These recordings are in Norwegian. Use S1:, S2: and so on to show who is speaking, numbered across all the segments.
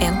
S1: En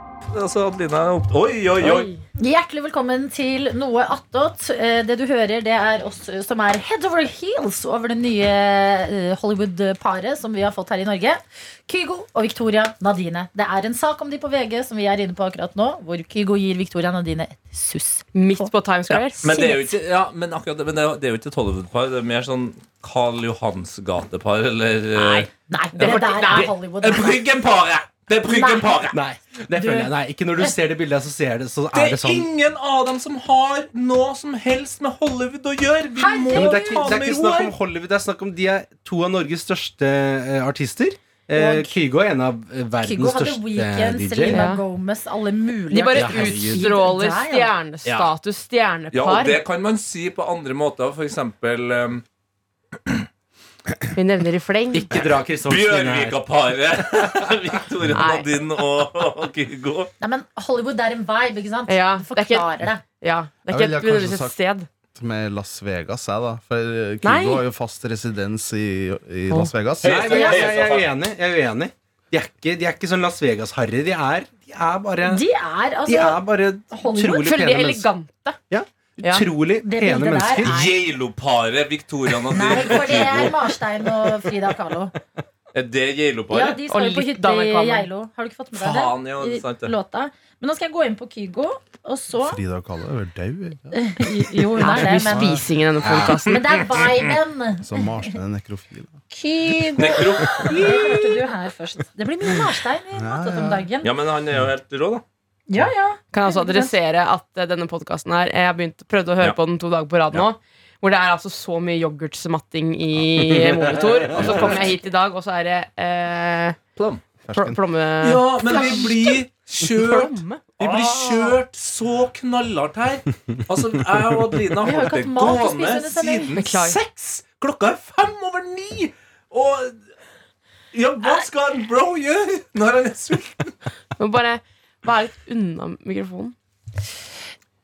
S2: Altså, Adelina er opp... Oi, oi, oi!
S3: Hjertelig velkommen til Noe attåt. Eh, Det du hører, det er oss som er head over heels over det nye eh, Hollywood-paret som vi har fått her i Norge. Kygo og Victoria Nadine. Det er en sak om de på VG som vi er inne på akkurat nå, hvor Kygo gir Victoria Nadine et suss.
S4: Midt på Times
S2: Ja,
S4: Square.
S2: men det er jo ikke, ja, men akkurat, det- men det er, jo- det er jo ikke et Hollywood-par. Det er mer sånn Karl Johans gatepar, eller eh,
S3: Nei, det
S4: fordi-
S3: der
S4: nei.
S3: er Hollywood. altså.
S2: eh, Bryggen-paret! Det er Bryggen-paret!
S5: Nei, det
S3: Du-
S5: føler jeg. Nei, ikke når du ser det bildet, så ser jeg det, så
S2: Det
S5: er det
S2: er
S5: sånn.
S2: ingen av dem som har noe som helst med Hollywood å gjøre! Vi
S3: Herregud!
S2: må
S5: Ja, men det, er ikke,
S2: ta
S5: det er
S2: med
S5: ikke
S2: ro
S5: snakk
S2: her!
S5: om Hollywood, det er snakk om de er to av Norges største eh, artister. Eh,
S3: Og-
S5: Kygo er en av eh,
S3: Kygo
S5: verdens
S3: hadde
S5: største
S3: Weekend,
S5: DJ.
S3: Selena
S4: Ja.
S3: Gomez, alle mulige
S4: De bare
S5: Ja, herregud.
S4: utstråler
S3: Der, ja.
S4: stjernestatus,
S2: Ja, og
S4: stjernepar.
S2: det kan man si på andre måter, for eksempel um,
S4: Vi nevner i fleng.
S5: Ikke dra Kristoffersen inn her.
S2: Bjørvika-paret! Victoria
S4: Nei.
S2: Nadine og, og Kygo.
S3: Nei, men Hollywood er en vibe, ikke sant?
S4: Ja,
S3: det
S4: det er ikke-
S3: forklarer det.
S4: Ja, det er ikke
S6: Jeg ville
S4: et,
S6: kanskje
S4: nødvendigvis et
S6: sagt-
S4: sted.
S6: med Las Vegas, jeg, da. For eh,
S4: Nei.
S6: Kygo har jo fast residens i, i
S4: Å.
S6: Las Vegas.
S5: Nei, men jeg, jeg, jeg er uenig. Jeg er uenig. De er ikke, de er ikke sånn Las Vegas-harry. De, er- de er bare
S3: De er
S5: De
S3: altså
S5: er bare
S3: Hollywood.
S5: utrolig
S4: Føler de
S5: pene
S4: er
S5: mennesker.
S4: elegante.
S5: Ja,
S4: Ja.
S5: utrolig
S3: Det
S5: pene
S3: bildet der
S5: mennesker.
S3: Nei.
S2: Geilo-paret Victoria
S3: Nei,
S2: Nadine
S3: for
S2: og
S3: det er
S2: Kygo.
S3: Marstein og Frida Kahlo.
S2: Er det
S3: Ja,
S2: Geilo-paret?
S3: de
S4: Og
S3: står jo på
S4: litt
S3: hytta i
S4: Daniel Kvammen.
S3: Geilo. Har du ikke fått med deg det?
S2: Faen, ja, det er sant det.
S3: I låta. Men nå skal jeg gå inn på Kygo, og så
S6: Frida og Kalle er jo død. ikke?
S3: Jo, hun
S4: Det er
S3: er
S4: så
S3: det,
S4: mye
S3: men,
S4: spising i denne podkasten.
S3: men det er viben.
S6: Så Marstein er nekrofil. da.
S3: Kygo
S2: Nekro.
S3: Det hørte du her først. Det blir mye Marstein i Mattet om dagen.
S2: Ja, men han er jo helt rå, da.
S3: Ja, ja.
S4: Kan jeg også adressere at eh, denne podkasten her Jeg har begynt, prøvd å høre
S2: Ja.
S4: på den to dager på rad nå. Hvor det er altså så mye yoghurtsmatting i monitor. Og så kommer jeg hit i dag, og så er det eh, pl
S6: Fersken.
S4: plomme...
S2: Ja, men vi blir kjørt
S4: Plomme?
S2: Vi blir kjørt så knallhardt her. Altså, Jeg og Adelina har
S3: har
S2: holdt
S3: ikke
S2: det
S3: hatt mat å
S2: gående
S3: spise under sending.
S2: siden
S4: Beklager.
S2: seks. Klokka er fem over ni! Og ja, hva skal en bro gjøre når han er sulten?
S4: Må bare være litt unna mikrofonen.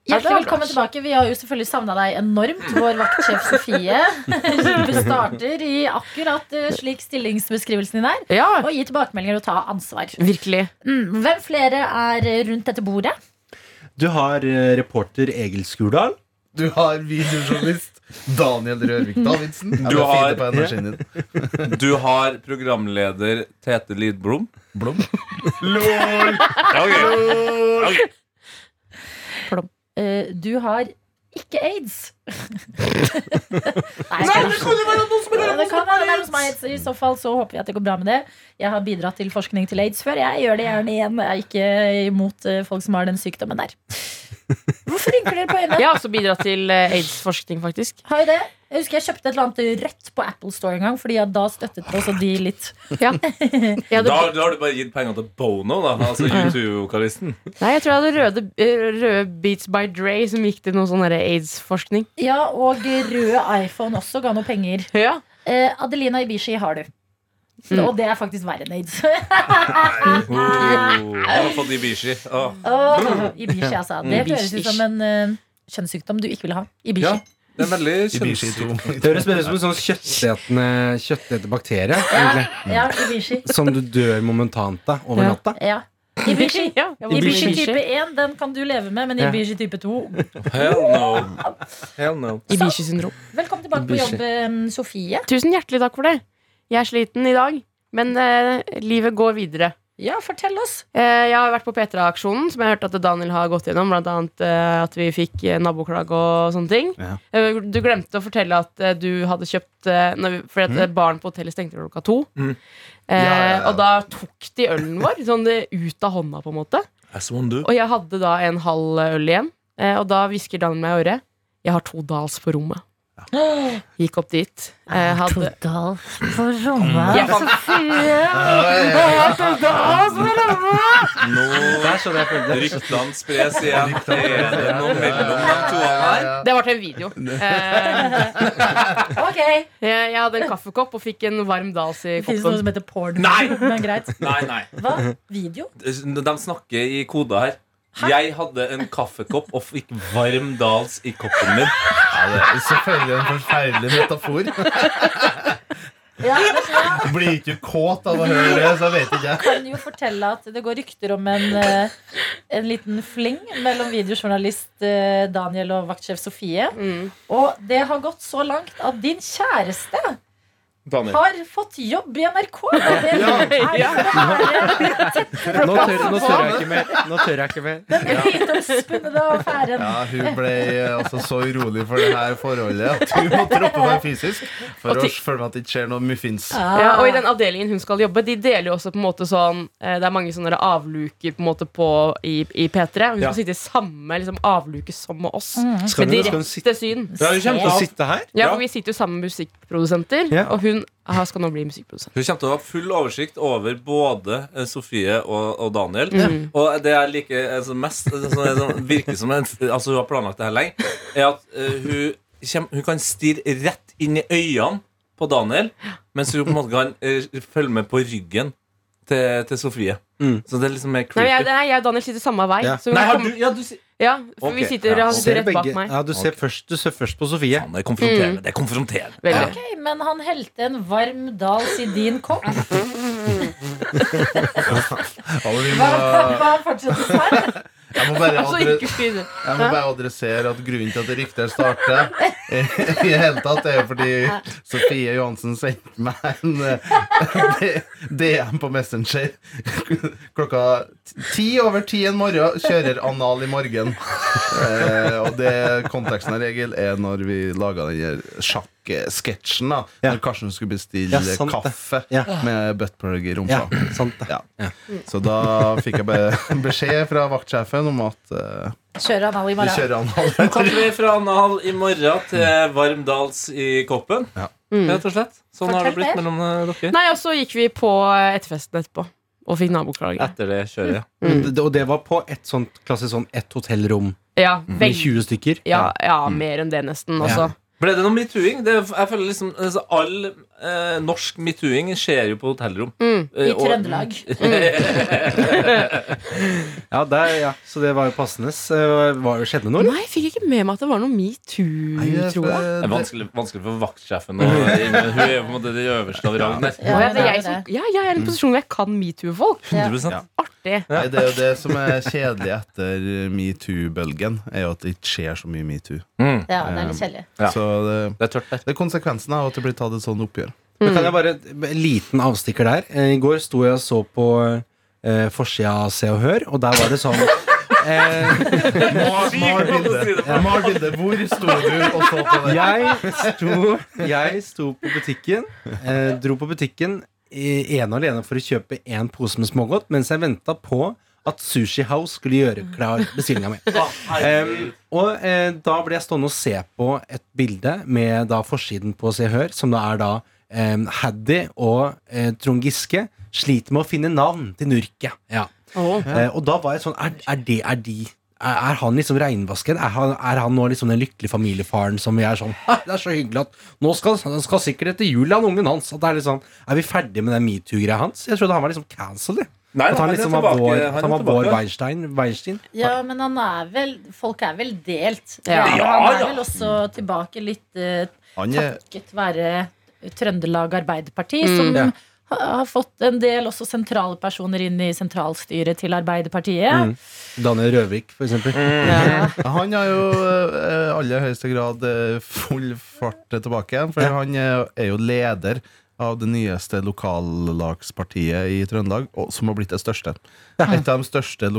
S3: Hjertelig velkommen tilbake. Vi har jo selvfølgelig savna deg enormt. Vår vaktsjef Sofie starter i akkurat eh, slik stillingsbeskrivelsen din er.
S4: Ja,
S3: Og gi tilbakemeldinger og ta ansvar.
S4: virkelig.
S3: Mm, Hvem flere er rundt dette bordet?
S5: Du har eh, reporter Egil Skurdal.
S6: Du har videojournalist Daniel Rørvik Davidsen. Jeg
S2: Du
S6: ble
S2: har-
S6: fint på energien din.
S2: Du har programleder Tete Lidblom.
S6: Blom.
S3: Eh, du har ikke aids. Nei,
S2: det kan jo være noen som
S3: det kan være det er hos
S2: AIDS.
S3: meg. I så fall så håper vi at det går bra med det. Jeg har bidratt til forskning til aids før. Jeg gjør det gjerne igjen. Jeg er ikke imot eh, folk som har den sykdommen der. Hvorfor rynker dere på øynene?
S4: Jeg har også bidratt til eh, aids-forskning, faktisk.
S3: Har jeg det? Jeg husker jeg kjøpte et eller annet rødt på Apple Store en gang, fordi jeg da støttet også de litt.
S4: Ja. Jeg, hadde,
S2: Da, da har du bare gitt penger til Bono, da. Altså YouTube-vokalisten.
S4: nei, jeg tror jeg hadde røde, eh, røde Beats by Dre som gikk til noe sånn der aids-forskning.
S3: Ja, og rød iPhone også ga noe penger.
S4: Ja.
S3: Eh, Adelina Ibishi har du.
S2: Mm.
S3: Og det er faktisk verre enn aids.
S2: Oh, han har fått Ibishi. Å,
S3: Åh, Ibishi, altså. Det
S4: Ibishi.
S3: høres ut som en eh, kjønnssykdom du ikke vil ha. Ibishi.
S2: Ja, det er veldig
S6: Ibishi
S2: kjønnssykt.
S6: 2.
S5: Det høres mer ut som en sånn kjøttetende, kjøttetende bakterie. egentlig.
S3: Ja, Ibishi.
S5: Som du dør momentant av over
S4: Ja.
S5: natta.
S3: Ja. Ibishi.
S4: Ja,
S3: Ibishi
S4: Ibishi.
S3: type 1 den kan du leve med, men
S5: Ja.
S3: Ibishi type 2
S2: Hell no. Hell no.
S4: Ibishi-syndrom.
S3: Velkommen tilbake på
S5: Ibishi.
S3: jobb, eh, Sofie.
S4: Tusen hjertelig takk for det. Jeg er sliten i dag, men eh, livet går videre.
S3: Ja, fortell oss.
S4: Eh, jeg har vært på P3-aksjonen, som jeg hørte at Daniel har gått gjennom. Blant annet eh, at vi fikk eh, naboklag og sånne ting.
S6: Ja.
S4: Eh, du glemte å fortelle at eh, du hadde kjøpt eh, når, vi- Fordi at eh, baren på hotellet stengte klokka to.
S2: Mm.
S4: Eh,
S6: Mm. Ja, ja, ja.
S4: Og da tok de ølen vår sånn eh, ut av hånda, på en måte.
S2: As one do.
S4: Og jeg hadde da en halv øl igjen. eh, Og da hvisker Daniel meg i øret. Jeg har to dals på rommet. Gikk opp dit. eh, Hadde
S3: Todal på rommet.
S4: Jeg fant-
S2: Nå
S5: Der så jeg følte det.
S2: ryktene spres igjen. Er det noe mellom de to her?
S4: Det var til en video. Eh,
S3: Ok.
S4: jeg, jeg hadde en kaffekopp og fikk en varm dals i
S3: Det finnes noe
S4: koppen.
S3: som heter porn.
S2: Nei!
S3: Men greit.
S2: Nei, nei.
S3: Hva? Video?
S2: De snakker i koder her. Jeg hadde en kaffekopp og fikk varm dals i koppen min.
S6: Ja, det er selvfølgelig en forferdelig metafor.
S3: Ja, men jeg
S6: Blir ikke du kåt av å høre det, så vet ikke jeg.
S3: kan jo fortelle at det går rykter om en, eh, en liten fling mellom videojournalist eh, Daniel og vaktsjef Sofie.
S4: Mm.
S3: Og det har gått så langt at din kjæreste
S2: Daniel.
S3: har fått jobb i NRK. Og det er svære
S5: Nå tør, nå tør jeg ikke mer. Nå tør jeg ikke mer.
S3: myteomspunnede affæren.
S6: Ja, Hun ble eh, altså så urolig for det her forholdet at hun måtte droppe meg fysisk for
S4: Og
S6: å
S4: til-
S6: føle at det ikke skjer noe muffins.
S3: Ah.
S4: Ja, og i den avdelingen hun skal jobbe, de deler jo også på en måte sånn eh, Det er mange sånne avluker på en måte på i, i P3. Hun skal
S2: Ja.
S4: sitte i samme liksom, avluke som med oss.
S5: Mm.
S2: Skal
S4: Med
S2: hun, skal hun sitte
S4: direkte syn.
S2: ja, Hun kommer til å
S3: Se.
S2: sitte her.
S4: Ja, for Vi sitter jo sammen med musikkprodusenter,
S2: Ja.
S4: og hun ah, skal nå bli musikkprodusent.
S2: Hun kommer til å ha full oversikt over både eh, Sofie og, og Daniel.
S4: Mm.
S2: Og det jeg liker altså, mest, det som det som virker som en, altså, hun har planlagt det her lenge, er at eh, hun, kjem- hun kan stirre rett inn i øynene på Daniel, mens hun på en måte kan eh, følge med på ryggen til, til Sofie.
S5: Mm.
S2: Så det er liksom mer
S4: Nei, jeg,
S2: creepy.
S4: nei, jeg og Daniel sitter samme vei.
S5: Ja.
S4: Så hun
S2: Nei, har du,
S4: kommer-
S2: ja, du sier
S4: ja, for vi
S2: Ok,
S4: sitter
S2: ja,
S4: han
S2: så
S4: sitter
S5: Ser
S4: rett bak
S5: begge-
S4: meg.
S5: Ja, du ser først, du ser først på Sofie.
S2: Faen, Det er konfronterende. Det er konfronterende.
S4: Veldig.
S3: Ok, men han helte en varm dals i din kopp.
S6: Og vi
S3: Hva,
S6: må,
S3: hva fortsetter her?
S6: jeg må bare
S4: Og så
S6: adre-
S4: gikk hun videre.
S6: Jeg må bare adressere at grunnen til at det ryktet her starter, i det hele tatt er jo fordi Sofie Johansen sendte meg en eh, DM på Messenger klokka ti over ti en morgen. Kjører anal i morgen. Eh, og det konteksten her, Egil, er når vi laga den her sjakksketsjen. da
S5: Ja.
S6: Når Karsten skulle bestille
S5: Ja, sant det.
S6: kaffe
S5: Ja.
S6: med buttplug i rumpa.
S5: Ja, sant det.
S6: Ja. Så da fikk jeg be- beskjed fra vaktsjefen om at eh,
S3: Kjører han alle i
S6: vi
S3: morgen?
S6: kjører anal
S2: Kommer vi fra Nahal i morgen til varm dals i koppen?
S6: Ja.
S2: Rett og slett. Sånn har det
S3: Fortell
S2: blitt mellom eh, dere.
S4: Nei, og så gikk vi på eh, etterfesten etterpå og fikk naboklage.
S2: Etter det kjører jeg.
S4: Mm.
S5: Det- Og det var på et sånt klassisk sånn ett hotellrom
S4: Ja,
S2: Mm.
S5: med
S4: veldig.
S5: 20 stykker.
S4: Ja, ja, mer enn det nesten altså. også.
S2: Ble det noe metooing? Det, jeg føler liksom altså, All eh, norsk metooing skjer jo på hotellrom.
S4: Mm.
S2: Eh,
S3: I
S2: og-
S3: Trøndelag.
S5: Ja, der, ja. Så det var jo passende. Så det Var det skjedde noe, eller?
S4: Nei, jeg fikk ikke med meg at det var noe metoo, tror jeg.
S2: Det er vanskelig, vanskelig for vaktsjefen. å- Hun er jo på en måte det øverste av rangene.
S3: Ja,
S4: Å, ja, det er jeg,
S3: det er
S4: som, ja, jeg er i en posisjon hvor jeg kan metoo-folk.
S2: 100
S6: Ja.
S4: Artig.
S6: Nei, det er jo det som er kjedelig etter metoo-bølgen, er jo at det ikke skjer så mye metoo.
S2: Mm.
S3: Ja, det er litt kjedelig.
S2: Ja.
S6: Så det,
S2: Det er tørt der.
S6: det er konsekvensen av at det blir tatt et sånt oppgjør.
S4: Mm.
S5: Da kan jeg bare en liten avstikker der. Eh, I går sto jeg og så på eh, forsida av Se og Hør, og der var det sånn eh,
S6: Mal mal bildet. Mal bildet. Hvor sto du og så på det?
S5: jeg, sto, jeg sto på butikken, eh, dro på butikken i- ene og alene for å kjøpe én pose med smågodt, mens jeg venta på at Sushi House skulle gjøre klar bestillinga mi. Em, og eh, da ble jeg stående og se på et bilde med da forsiden på Se og Hør, som da er da um, Haddy og eh, Trond Giske sliter med å finne navn til Nurket. Ja. Eh, og da var jeg sånn Er, er det er de? Er, er han liksom regnvasken? Er han, er han nå liksom den lykkelige familiefaren som vi er sånn «Ha, Det er så hyggelig at Nå skal han skal sikkert etter jul, han ungen hans. At det er litt sånn Er vi ferdige med den metoo-greia hans? Jeg trodde han var liksom cancelled. jeg.
S2: Nei,
S5: At
S2: han
S5: han
S2: er
S5: liksom
S2: tilbake,
S5: var vår,
S2: han er
S5: at han var
S2: tilbake.
S5: vår Weinstein. Weinstein.
S3: Ja, men han er vel Folk er vel delt.
S4: Ja.
S3: Han er
S2: Ja,
S3: vel også tilbake litt eh,
S6: Han er,
S3: takket være Trøndelag Arbeiderparti, som
S5: Ja.
S3: ha- har fått en del også sentrale personer inn i sentralstyret til Arbeiderpartiet.
S5: Daniel Røvik, for eksempel.
S2: Mm.
S4: Ja.
S6: han har jo eh, aller høyeste grad eh, full fart tilbake igjen, for
S5: Ja.
S6: han er er jo leder av det nyeste lokallagspartiet i Trøndelag, og- som har blitt det største. Et av de største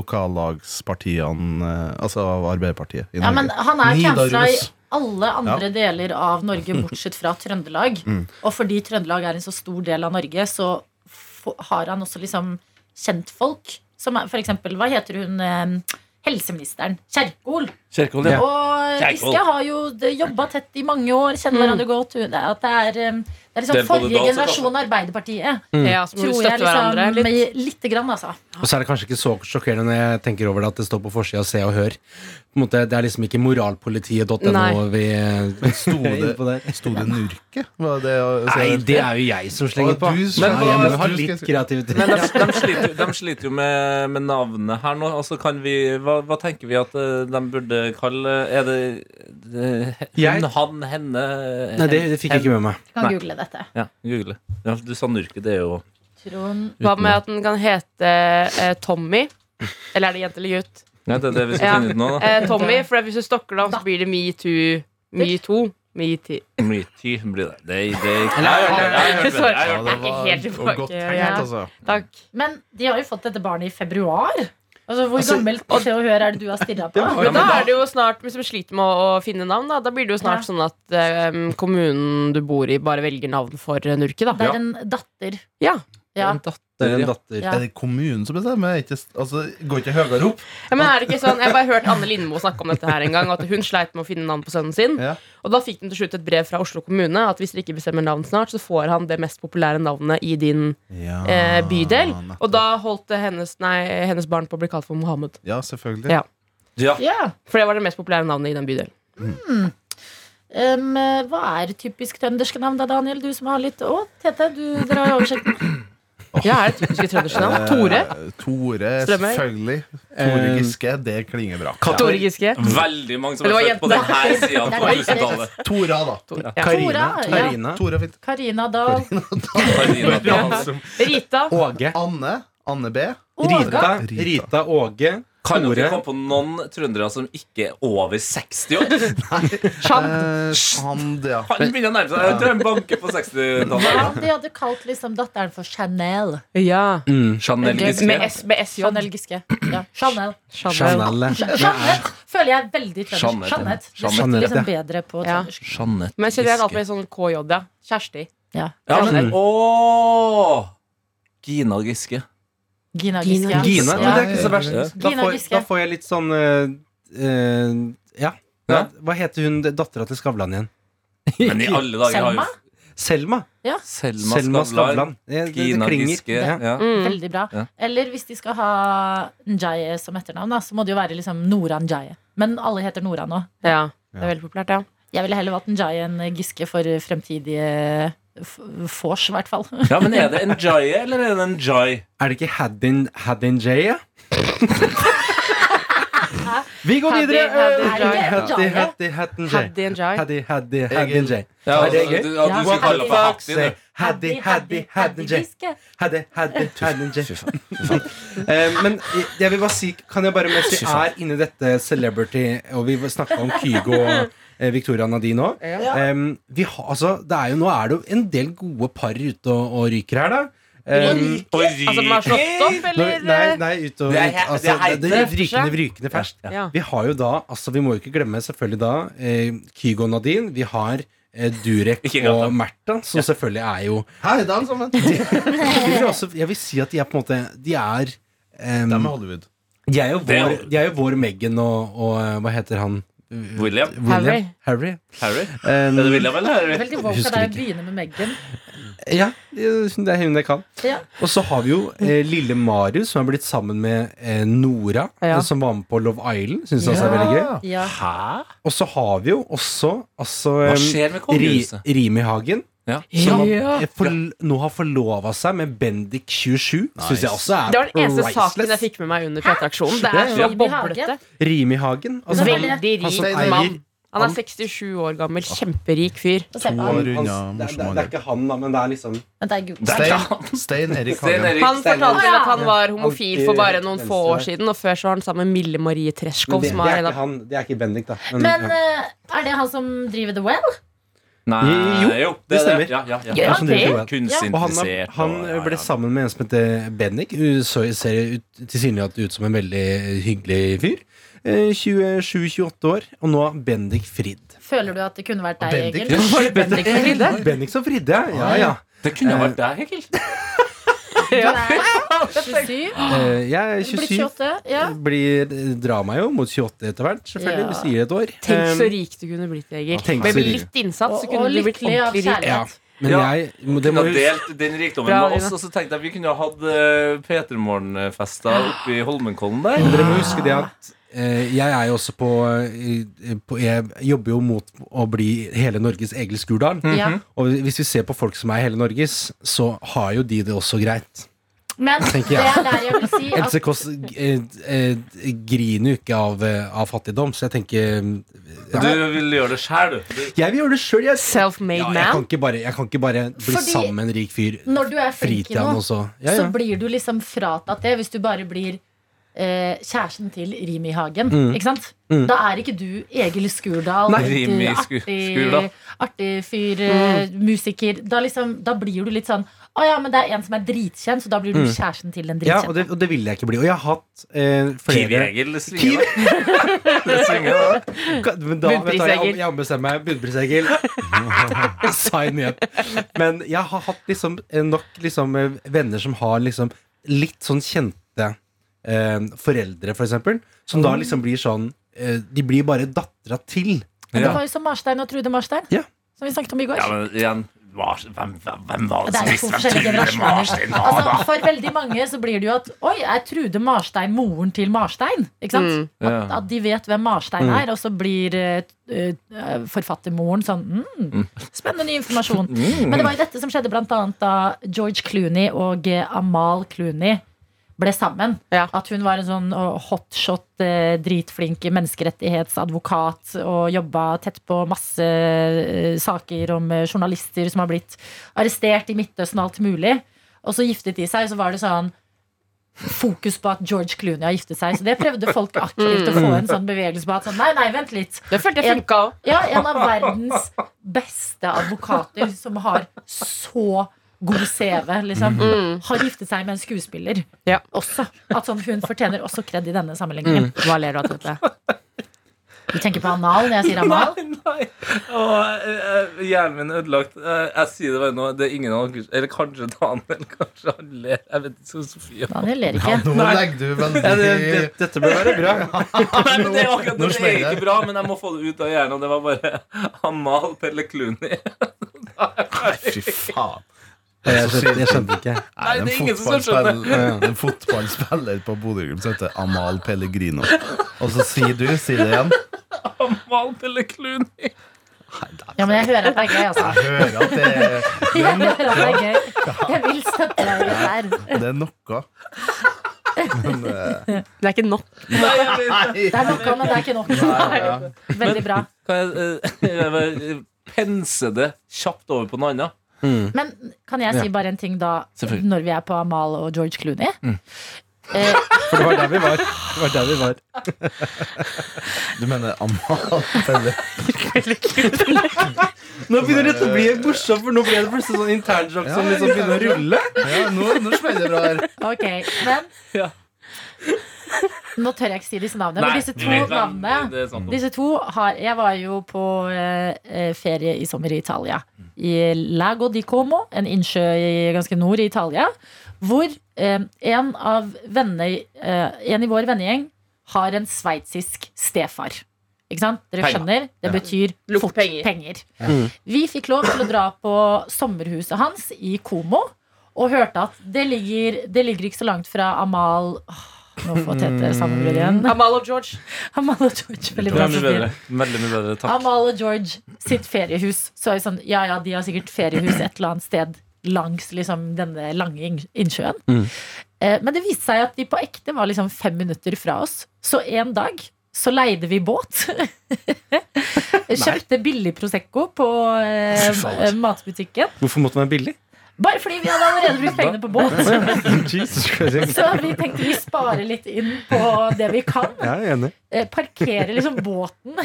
S6: lokallagspartiene, eh, altså av Arbeiderpartiet i
S3: Ja, men han er
S6: Nidaros.
S3: cancela i alle andre deler av Norge, bortsett fra Trøndelag. Og fordi Trøndelag er en så stor del av Norge, så f- har han også liksom kjentfolk. Som er, for eksempel, hva heter hun eh, helseministeren? Kjerkol.
S2: Kjerkol, ja.
S3: Og
S2: Kjerkol.
S3: Giske har jo jobba tett i mange år, kjenner hverandre godt. Hun- det er- At det er, eh, det er liksom
S2: Del på det
S3: forrige
S2: da, så
S3: generasjon Arbeiderpartiet.
S4: Ja, så må vi
S3: Tror jeg
S4: støtte Mm.
S3: liksom
S4: hverandre litt.
S3: med lite grann, altså.
S5: Og så er det kanskje ikke så sjokkerende når jeg tenker over det at det står på forsida Se og Hør. På en måte, det er liksom ikke moralpolitiet.no
S4: Nei.
S5: vi eh,
S6: Sto
S5: er
S6: det,
S5: inne på der.
S6: sto det nurke? Var det å si?
S5: Nei, det er jo jeg som slenger
S6: Å,
S5: på.
S6: du
S5: Men
S6: slenger-
S5: jeg må jo ha
S6: du skal-
S5: litt kreativitet.
S2: Men de, de, sliter, de sliter jo med, med navnet her nå. Altså kan vi, hva, hva tenker vi at eh, de burde eh, Karl, er det, det
S5: Jeg-
S2: hun, han, henne
S5: Nei, det, det fikk jeg ikke med meg.
S3: Du kan
S2: Nei.
S3: google dette.
S2: Ja, google. Ja, du sa Nurke, det er jo
S3: Trond
S4: Hva med at den kan hete eh, Tommy? Eller er det jente eller gutt?
S2: ja, Det er det vi skal
S4: Ja.
S2: finne ut nå, da.
S4: Eh, Tommy, for hvis du stokker det om, så blir det metoo. Metoo. Metoo.
S2: Mye tid blir det. Det, det,
S4: Sorry, jeg
S6: Ja,
S4: er
S6: det
S4: ikke
S6: var
S4: helt
S6: og godt
S4: tilbake.
S6: tenkt,
S4: Ja.
S6: altså.
S4: Takk.
S3: Men de har jo fått dette barnet i februar. Altså, Hvor
S5: Altså,
S3: gammelt på Se og Hør er det du har stirra på?
S4: Men da er det jo snart, hvis vi sliter med å, å finne navn, da, da blir det jo
S3: Ja.
S4: snart sånn at eh, kommunen du bor i, bare velger navn for eh, Nurki,
S3: Det
S4: da.
S2: Ja.
S3: er en datter.
S4: Ja.
S3: Ja.
S2: En datter,
S5: Det
S2: ja.
S5: er en datter.
S3: Ja.
S6: Er det kommunen som bestemmer? Ikke, st- altså, går ikke høyere opp?
S4: Ja, men er det ikke sånn, Jeg har bare hørt Anne Lindmo snakke om dette her en gang. At hun sleit med å finne navn på sønnen sin.
S6: Ja.
S4: Og da fikk hun til slutt et brev fra Oslo kommune at hvis dere ikke bestemmer navn snart, så får han det mest populære navnet i din eh, bydel.
S6: Ah, nettopp.
S4: Og da holdt det hennes, nei, hennes barn på å bli kalt for Mohammed.
S6: Ja, selvfølgelig.
S4: Ja.
S2: Ja.
S3: Ja.
S4: For det var det mest populære navnet i den bydelen.
S3: Um, hva er typisk trønderske navn da, Daniel? Du som har litt Å, Tete, du dere har jo oversikten.
S4: Ja, er det typiske trønderske navn? Tore?
S6: Eh, Tore,
S4: Strømøy.
S6: selvfølgelig. Tore
S5: Eh,
S6: Giske, det klinger bra.
S4: Tore Giske?
S2: Veldig mange som
S4: Det
S2: er
S4: var
S2: født på
S4: jenta.
S2: denne sida på
S3: Det er
S2: 2000-tallet.
S6: Tora, da.
S4: Tore. Ja.
S5: Karina.
S3: Tora, ja.
S5: Karina.
S6: Tora er fint.
S3: Karina Dahl.
S2: Karina Dahl.
S4: Rita?
S5: Åge.
S6: Anne. Anne B.
S3: Åga.
S5: Rita.
S6: Rita.
S5: Rita Åge.
S2: Kan jo
S5: Tore.
S2: ikke komme på noen trøndere som ikke er over 60 år.
S4: Chad?
S6: Eh, Sand, ja.
S2: Han begynner å nærme seg. Jeg tror han banker på 60-tallet.
S3: Ja, de hadde kalt liksom datteren for Chanel.
S4: Eh, Ja.
S2: Chanel
S4: Med
S2: Giske.
S4: S, med SJ.
S3: Chanel Giske. Ja. Chanel.
S4: Chanel.
S5: Chanel.
S3: Chanel føler jeg er veldig
S2: Jeanette.
S3: trøndersk. Jeanette. Det
S5: Jeanette.
S3: sitter liksom bedre på
S4: Ja.
S3: trøndersk.
S2: Jeanette
S4: Men kjenner jeg alt med sånn KJ, ja. Kjersti.
S3: Ja.
S2: Ja, men, åh! Gina Giske.
S3: Gina
S4: Gina
S3: Giske. ja.
S5: Gine. Men det er ikke så
S2: Ja.
S5: verst. Da
S3: Gina
S5: får,
S3: Giske.
S5: da får jeg litt sånn eh, eh, Ja.
S2: Ja.
S5: Hva heter hun dattera til Skavlan igjen?
S2: Men i alle dager har jo
S3: Selma?
S5: Selma.
S2: Selma Skavlan.
S5: Selma Skavlan. Det, det, det
S2: Gina
S5: klinger.
S2: Giske.
S5: Ja.
S2: Ja.
S4: Mm.
S3: Veldig bra.
S2: Ja.
S3: Eller hvis de skal ha Njaye som etternavn, da, så må det jo være liksom Nora Njaye. Men alle heter Nora nå.
S4: Ja. Det er veldig populært, ja.
S3: Jeg ville heller valgt Njaye enn Giske for fremtidige f- vors, i hvert fall.
S2: ja, men er det en Jai eller er det en Jai?
S5: Er det ikke Haddin, Haddin J, ja? Vi går
S4: Haddin-
S5: videre!
S4: Haddin
S5: Haddy,
S3: J.
S5: Haddy, Haddy, Haddin J.
S4: Haddy and Jai.
S5: Haddy, Haddy, Haddin J.
S2: Ja,
S5: Er det
S2: altså,
S5: gøy?
S2: Du, ja, du
S3: Ja.
S2: skulle kalle på
S3: What the
S5: Fuck
S2: Hattie,
S5: say
S2: du.
S5: Haddy, Haddy, Haddin J.
S3: Giske.
S5: Haddy, Haddy, Haddin J. Eh, Men jeg vil bare si, kan jeg bare mens vi er inne i dette celebrity, og vi snakka om Kygo og eh, Victoria Nadine òg vi har, altså, det er jo, Nå er det jo en del gode par ute og, og ryker her, da. Em,
S2: Og
S4: Altså, den har
S2: ry-
S4: slått opp,
S5: Nå-
S4: eller? eh,
S5: Nei, nei ut og,
S2: Det er he-
S5: altså,
S2: det er heit-
S5: det, det er rykende, rykende ferskt.
S4: Ja.
S5: Vi har jo da, altså vi må jo ikke glemme selvfølgelig da eh, Kygo og Nadine. Vi har eh, Durek
S2: Ikke engang
S5: og
S2: dem.
S5: Märtha, som selvfølgelig er jo
S6: Hei, det er alle sammen.
S5: jeg vil, også, jeg vil si at de er på en måte De er em,
S6: De er Hollywood.
S5: de er jo
S2: Det er
S5: vår,
S2: jo-
S5: de er jo vår Meghan og, og eh, hva heter han?
S2: William?
S5: William? Harry.
S2: Harry?
S5: Em,
S2: Er det William eller Harry?
S3: Veldig woke
S5: Husker
S3: av deg å
S5: ikke.
S3: begynne med Meghan.
S5: ja, det er hun jeg kan.
S3: Ja.
S5: Og så har vi jo eh, lille Marius, som har blitt sammen med eh, Nora,
S4: Ja.
S5: eh, som var med på Love Island. Syns også er veldig gøy.
S3: Ja.
S2: Hæ?
S5: Og så har vi jo også altså,
S2: Hva
S5: em,
S2: skjer med
S5: Ri,
S2: kongehuset?
S5: Rimi Hagen,
S2: Ja.
S5: som
S4: Ja.
S5: har, for, nå har forlova seg med Bendik27. Synes Syns jeg også er
S4: Det var den eneste saken jeg
S5: priceless.
S4: fikk med meg under P3-aksjonen. Det er
S5: Ja,
S4: så
S5: ja.
S4: boblete.
S5: Rimi Hagen. Altså,
S3: Men-
S5: han,
S4: Veldig
S5: han som
S4: rik
S5: eier
S4: mann. Han er 67 år gammel, kjemperik fyr.
S3: Få se på han.
S5: han, hans, det,
S6: Runda,
S5: er, det,
S6: morsom
S5: er, det er ikke han, da, men det er liksom
S3: Men det er Google.
S2: Der, ja.
S6: Stein, Stein Erik
S2: Stein
S6: Hagen.
S2: Erik.
S4: Han fortalte vel at han var homofil for bare noen få år
S5: Venstre.
S4: siden, og før så var han sammen med Mille Marie Treskov,
S5: men det,
S4: som er
S5: det, er
S4: en
S5: ikke
S4: av
S5: han, det er ikke Bendik, da. Men,
S3: Men
S5: ja.
S3: eh, er det han som driver The Well?
S2: Nei,
S5: Jo,
S2: jo,
S5: det
S2: det
S5: stemmer.
S2: Ja, ja,
S5: Det
S2: ja.
S5: er som driver Joel.
S2: Kunstinteressert.
S5: Og han, er- han
S2: og- ja,
S5: ble
S2: ja.
S5: sammen med en som heter Bendik. Hun så, ser ut- tilsynelatende ut som en veldig hyggelig fyr. Eh, 27-28 år, og nå Bendik Frid.
S3: Føler du at det kunne vært deg,
S6: Bendik.
S3: Egil? Var det Bendik som fridde?
S5: Bendik som Fridde, ja, ja.
S2: Det kunne ha vært
S5: Eh,
S2: deg, Egil.
S3: Du er 27?
S5: Eh, Jeg er
S3: Du blir
S5: 27.
S3: 28? Ja.
S5: Eh, Blir, drar meg jo mot 28 etter hvert, selvfølgelig.
S3: Ja.
S5: Vi sier et år.
S4: Tenk så
S5: Eh,
S4: rik du kunne blitt, Egil.
S5: Tenk
S4: Med
S5: så rik.
S4: litt innsats så
S3: Og-
S4: kunne
S3: og
S4: du blitt
S3: lykkelig av
S4: ordentlig rik.
S5: Ja. Men
S2: Ja.
S5: jeg det
S2: Kunne
S5: må
S2: ha
S5: jo
S2: delt den rikdommen
S4: Bra,
S2: med oss,
S4: Ina.
S2: og så tenkte jeg vi kunne ha hatt uh, P3morgen-fester oppe i Holmenkollen der.
S5: Men dere må huske det at eh, jeg er jo også på, eh, på Jeg jobber jo mot å bli hele Norges Egil
S2: Mm.
S5: Skurdal.
S3: Ja.
S5: Og hvis vi ser på folk som er hele Norges, så har jo de det også greit.
S3: Men
S5: Tenker
S3: det
S5: jeg.
S3: er der jeg vil si at
S5: Else Kåss eh, eh, griner jo ikke av, eh, av fattigdom, så jeg tenker
S2: Du vil gjøre det sjæl, du. du.
S5: Jeg vil gjøre det sjøl, jeg. Ja,
S4: Self-made
S5: jeg, kan
S4: man.
S5: ikke bare, jeg kan ikke bare bli
S3: Fordi
S5: sammen med en rik fyr
S3: når du er flink i
S5: fritida
S3: noe,
S5: og så ja, ja.
S3: så blir du liksom fratatt det hvis du bare blir eh, kjæresten til Rimi Hagen. Ikke sant? Da er ikke du Egil Skurdal,
S5: Mm. Nei.
S3: et, eh,
S2: Rimi Sku- Skurdal.
S3: artig, artig fyr, eh,
S5: Mm.
S3: musiker. Da, liksom, da blir du litt sånn Å ja, men det er en som er dritkjent, så da blir du kjæresten til den
S5: Mm. ja
S3: dritkjente.
S5: og, det, og det vil jeg ikke bli. Og jeg har hatt eh, flere
S2: Kiwi-Egil det svinger, da. Det svinger, da.
S5: Ka- Men da, vet du, hva, jeg,
S4: Bunnpris-Egil.
S5: jeg ombestemmer meg. Bunnpris-Egil. Sign me up. Men jeg har hatt liksom eh, nok liksom eh, venner som har liksom litt sånn kjente eh, foreldre, for eksempel, som da liksom blir sånn eh, De blir bare dattera til.
S3: Men det
S2: Ja.
S3: var jo som Marstein og Trude Marstein,
S5: Ja.
S3: som vi snakket om i går.
S2: Ja, men igjen hva- hvem, hvem, hvem var det
S3: Det
S2: som
S3: er jo to
S2: visste hvem
S3: forskjellige
S2: Trude Marstein
S3: generasjoner.
S2: var, da?
S3: Altså, for veldig mange så blir det jo at Oi, er Trude Marstein moren til Marstein? Ikke sant?
S4: Mm.
S2: Ja. Mm.
S3: At de vet hvem Marstein er, og så blir eh, eh, forfattermoren sånn mm, Spennende ny informasjon.
S2: Mm.
S3: Men det var jo dette som skjedde blant annet da George Clooney og eh, Amal Clooney ble sammen.
S4: Ja.
S3: At hun var en sånn eh, hotshot, eh, dritflink menneskerettighetsadvokat og jobba tett på masse eh, saker om eh, journalister som har blitt arrestert i Midtøsten og alt mulig. Og så giftet de seg, og så var det sånn fokus på at George Clooney har giftet seg. Så det prøvde folk aktivt å få
S4: Mm.
S3: en sånn bevegelse på. At sånn, nei, nei, vent litt.
S4: Det følte jeg funka òg.
S3: Ja, en av verdens beste advokater som har så god CV, liksom,
S4: Mm.
S3: har giftet seg med en skuespiller
S4: Ja.
S3: også. At sånn, hun fortjener også kred i denne sammenhengen.
S4: Mm. Hva ler du av til dette?
S3: Du tenker på anal når jeg sier amal?
S2: Nei. Åh, eh, eh, hjernen min er ødelagt. Eh, Jeg sier det bare nå. Det er ingen av dere Eller kanskje Daniel. Kanskje han ler. Jeg vet ikke. Sofie
S3: Daniel ler
S6: Ja,
S3: ikke.
S6: nå legger du veldig
S5: dette bør være bra.
S2: Nei, men det er akkurat
S6: Nå
S2: det er
S6: smeller jeg.
S2: ikke bra, men jeg må få det ut av hjernen. Og det var bare Amal Pelle Clooney.
S6: Fy faen.
S5: Jeg skjønte, jeg skjønte ikke.
S2: Nei,
S6: en
S2: det er ingen som skjønner.
S6: fotballspiller- En fotballspiller på Bodø-Glimt som heter Amal Pellegrino. Og så sier du, si det igjen.
S2: Amal Pelle Clooney.
S3: Ja, men jeg hører at det er gøy, altså.
S6: Jeg hører at det er,
S3: Jeg hører at det er gøy. Jeg vil støtte deg i det her.
S6: det er noe. Men eh,
S4: Det er ikke nok.
S2: Nei, jeg vet ikke.
S3: Det er noe, men det er ikke
S6: Nei,
S3: nok.
S6: ja.
S3: Veldig bra.
S2: Kan jeg, eh, jeg bare pense det kjapt over på noe annet?
S3: Men kan jeg si bare en ting da,
S2: Selvfølgelig. Mm.
S3: når vi er på Amal og George Clooney?
S5: For det var der vi var. Det var der vi var.
S6: Du mener Amal Pelle
S5: Nå begynner dette å bli morsomt, for nå ble det plutselig sånn internjoke
S6: som liksom begynner å
S5: rulle.
S6: Ja, nå, nå smeller det bra her.
S3: Ok, men
S2: Ja.
S3: Nå tør jeg ikke si disse navnene,
S2: Nei,
S3: men disse
S2: vi
S3: to
S2: vet hva- det-
S3: navnene
S2: det er sant.
S3: disse to har, Jeg var jo på eh, eh, ferie i sommer i Italia. I Lago di Como, en innsjø i, ganske nord i Italia. Hvor eh, en av vennene eh, En i vår vennegjeng har en sveitsisk stefar. Ikke sant? Dere
S2: Penger. Mm.
S3: skjønner? Det betyr
S4: Lukt
S3: fort
S4: penger.
S3: penger. Vi fikk lov til å dra på sommerhuset hans i Como og hørte at det ligger, det ligger ikke så langt fra Amal Åh, Nå får Tete sammenbrudd igjen.
S4: Amal og George.
S3: Amal og George.
S2: Det
S3: Veldig bra.
S2: er mye
S3: Sofie.
S2: bedre. Veldig mye bedre. Takk.
S3: Amal og George sitt feriehus. Så er vi sånn, ja ja, de har sikkert feriehus et eller annet sted langs liksom, denne lange inn- innsjøen. Eh, men det viste seg at de på ekte var liksom fem minutter fra oss. Så en dag så leide vi båt. Kjøpte billig Prosecco på eh, eh, matbutikken.
S5: Hvorfor måtte man være billig?
S3: Bare fordi vi hadde allerede brukt pengene på båt.
S5: Jesus Christ.
S3: Så vi tenkte vi sparer litt inn på det vi kan.
S5: Jeg er enig.
S3: Eh, Parkere liksom båten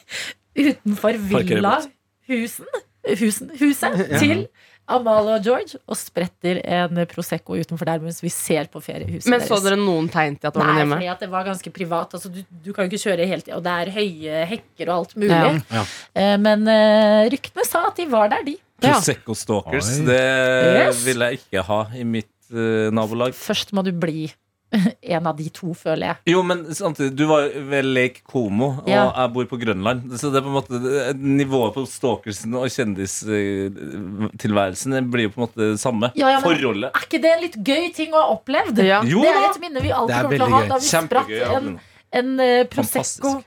S3: utenfor
S2: Parkere båt.
S3: villahusen husen, huset til Amalie og George og spretter en Prosecco utenfor der mens vi ser på feriehuset
S4: Men så
S3: deres.
S4: dere noen tegn til at det var
S3: Nei,
S4: noen hjemme?
S3: fordi at det var ganske privat. Altså, du, du kan jo ikke kjøre helt Og det er høye hekker og alt mulig.
S4: Ja.
S5: Ja.
S3: Eh, Men eh, ryktene sa at de var der, de.
S4: Ja.
S2: Prosecco Stalkers,
S6: Oi.
S2: det
S3: Yes.
S2: vil jeg ikke ha i mitt eh, nabolag.
S3: Først må du bli en av de to, føler jeg.
S2: Jo, men samtidig, du var jo ved Lake Como, og
S3: Ja.
S2: jeg bor på Grønland. Så det er på en måte det- nivået på stalkersen og kjendistilværelsen det blir jo på en måte det samme.
S3: Ja, ja, men-
S2: Forholdet.
S3: Er ikke det en litt gøy ting å ha opplevd?
S4: Ja.
S2: Jo
S3: det er
S2: da!
S3: et minne vi
S5: Det
S3: alltid
S5: er
S3: kommer til å
S5: veldig
S3: ha
S5: gøy.
S3: da vi spratt
S2: Kjempegøy.
S3: en, en eh,
S2: Fantastisk.
S3: Prosecco.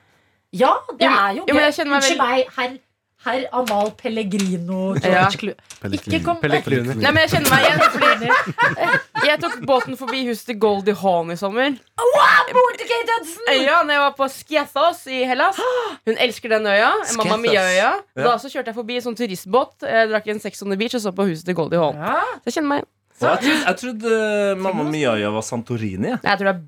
S3: Ja, det
S4: Jo, men-
S3: er jo
S4: jo,
S3: gøy.
S4: men jeg kjenner meg
S3: Unnskyld meg, herr Herr Amal Pellegrino
S4: Ja.
S3: George Clooney. Ikke kom
S5: Pellegrino.
S4: Nei, men jeg kjenner meg igjen.
S3: Pellegrino.
S4: Jeg tok båten forbi huset til Goldie Hawn i sommer.
S3: Mordecai Dodson!
S4: Øya, når jeg var på Skiathos i Hellas. Hun elsker den øya. Mamma Mia-øya. Da så kjørte jeg forbi en sånn turistbåt, eh, drakk en Sex on the Beach og så på huset til Goldie Hawn.
S3: Ja.
S4: Så jeg kjenner meg igjen.
S2: Og jeg trodde, jeg trodde eh, Mamma Mia var Santorini. Jeg
S4: Nei, jeg tror det er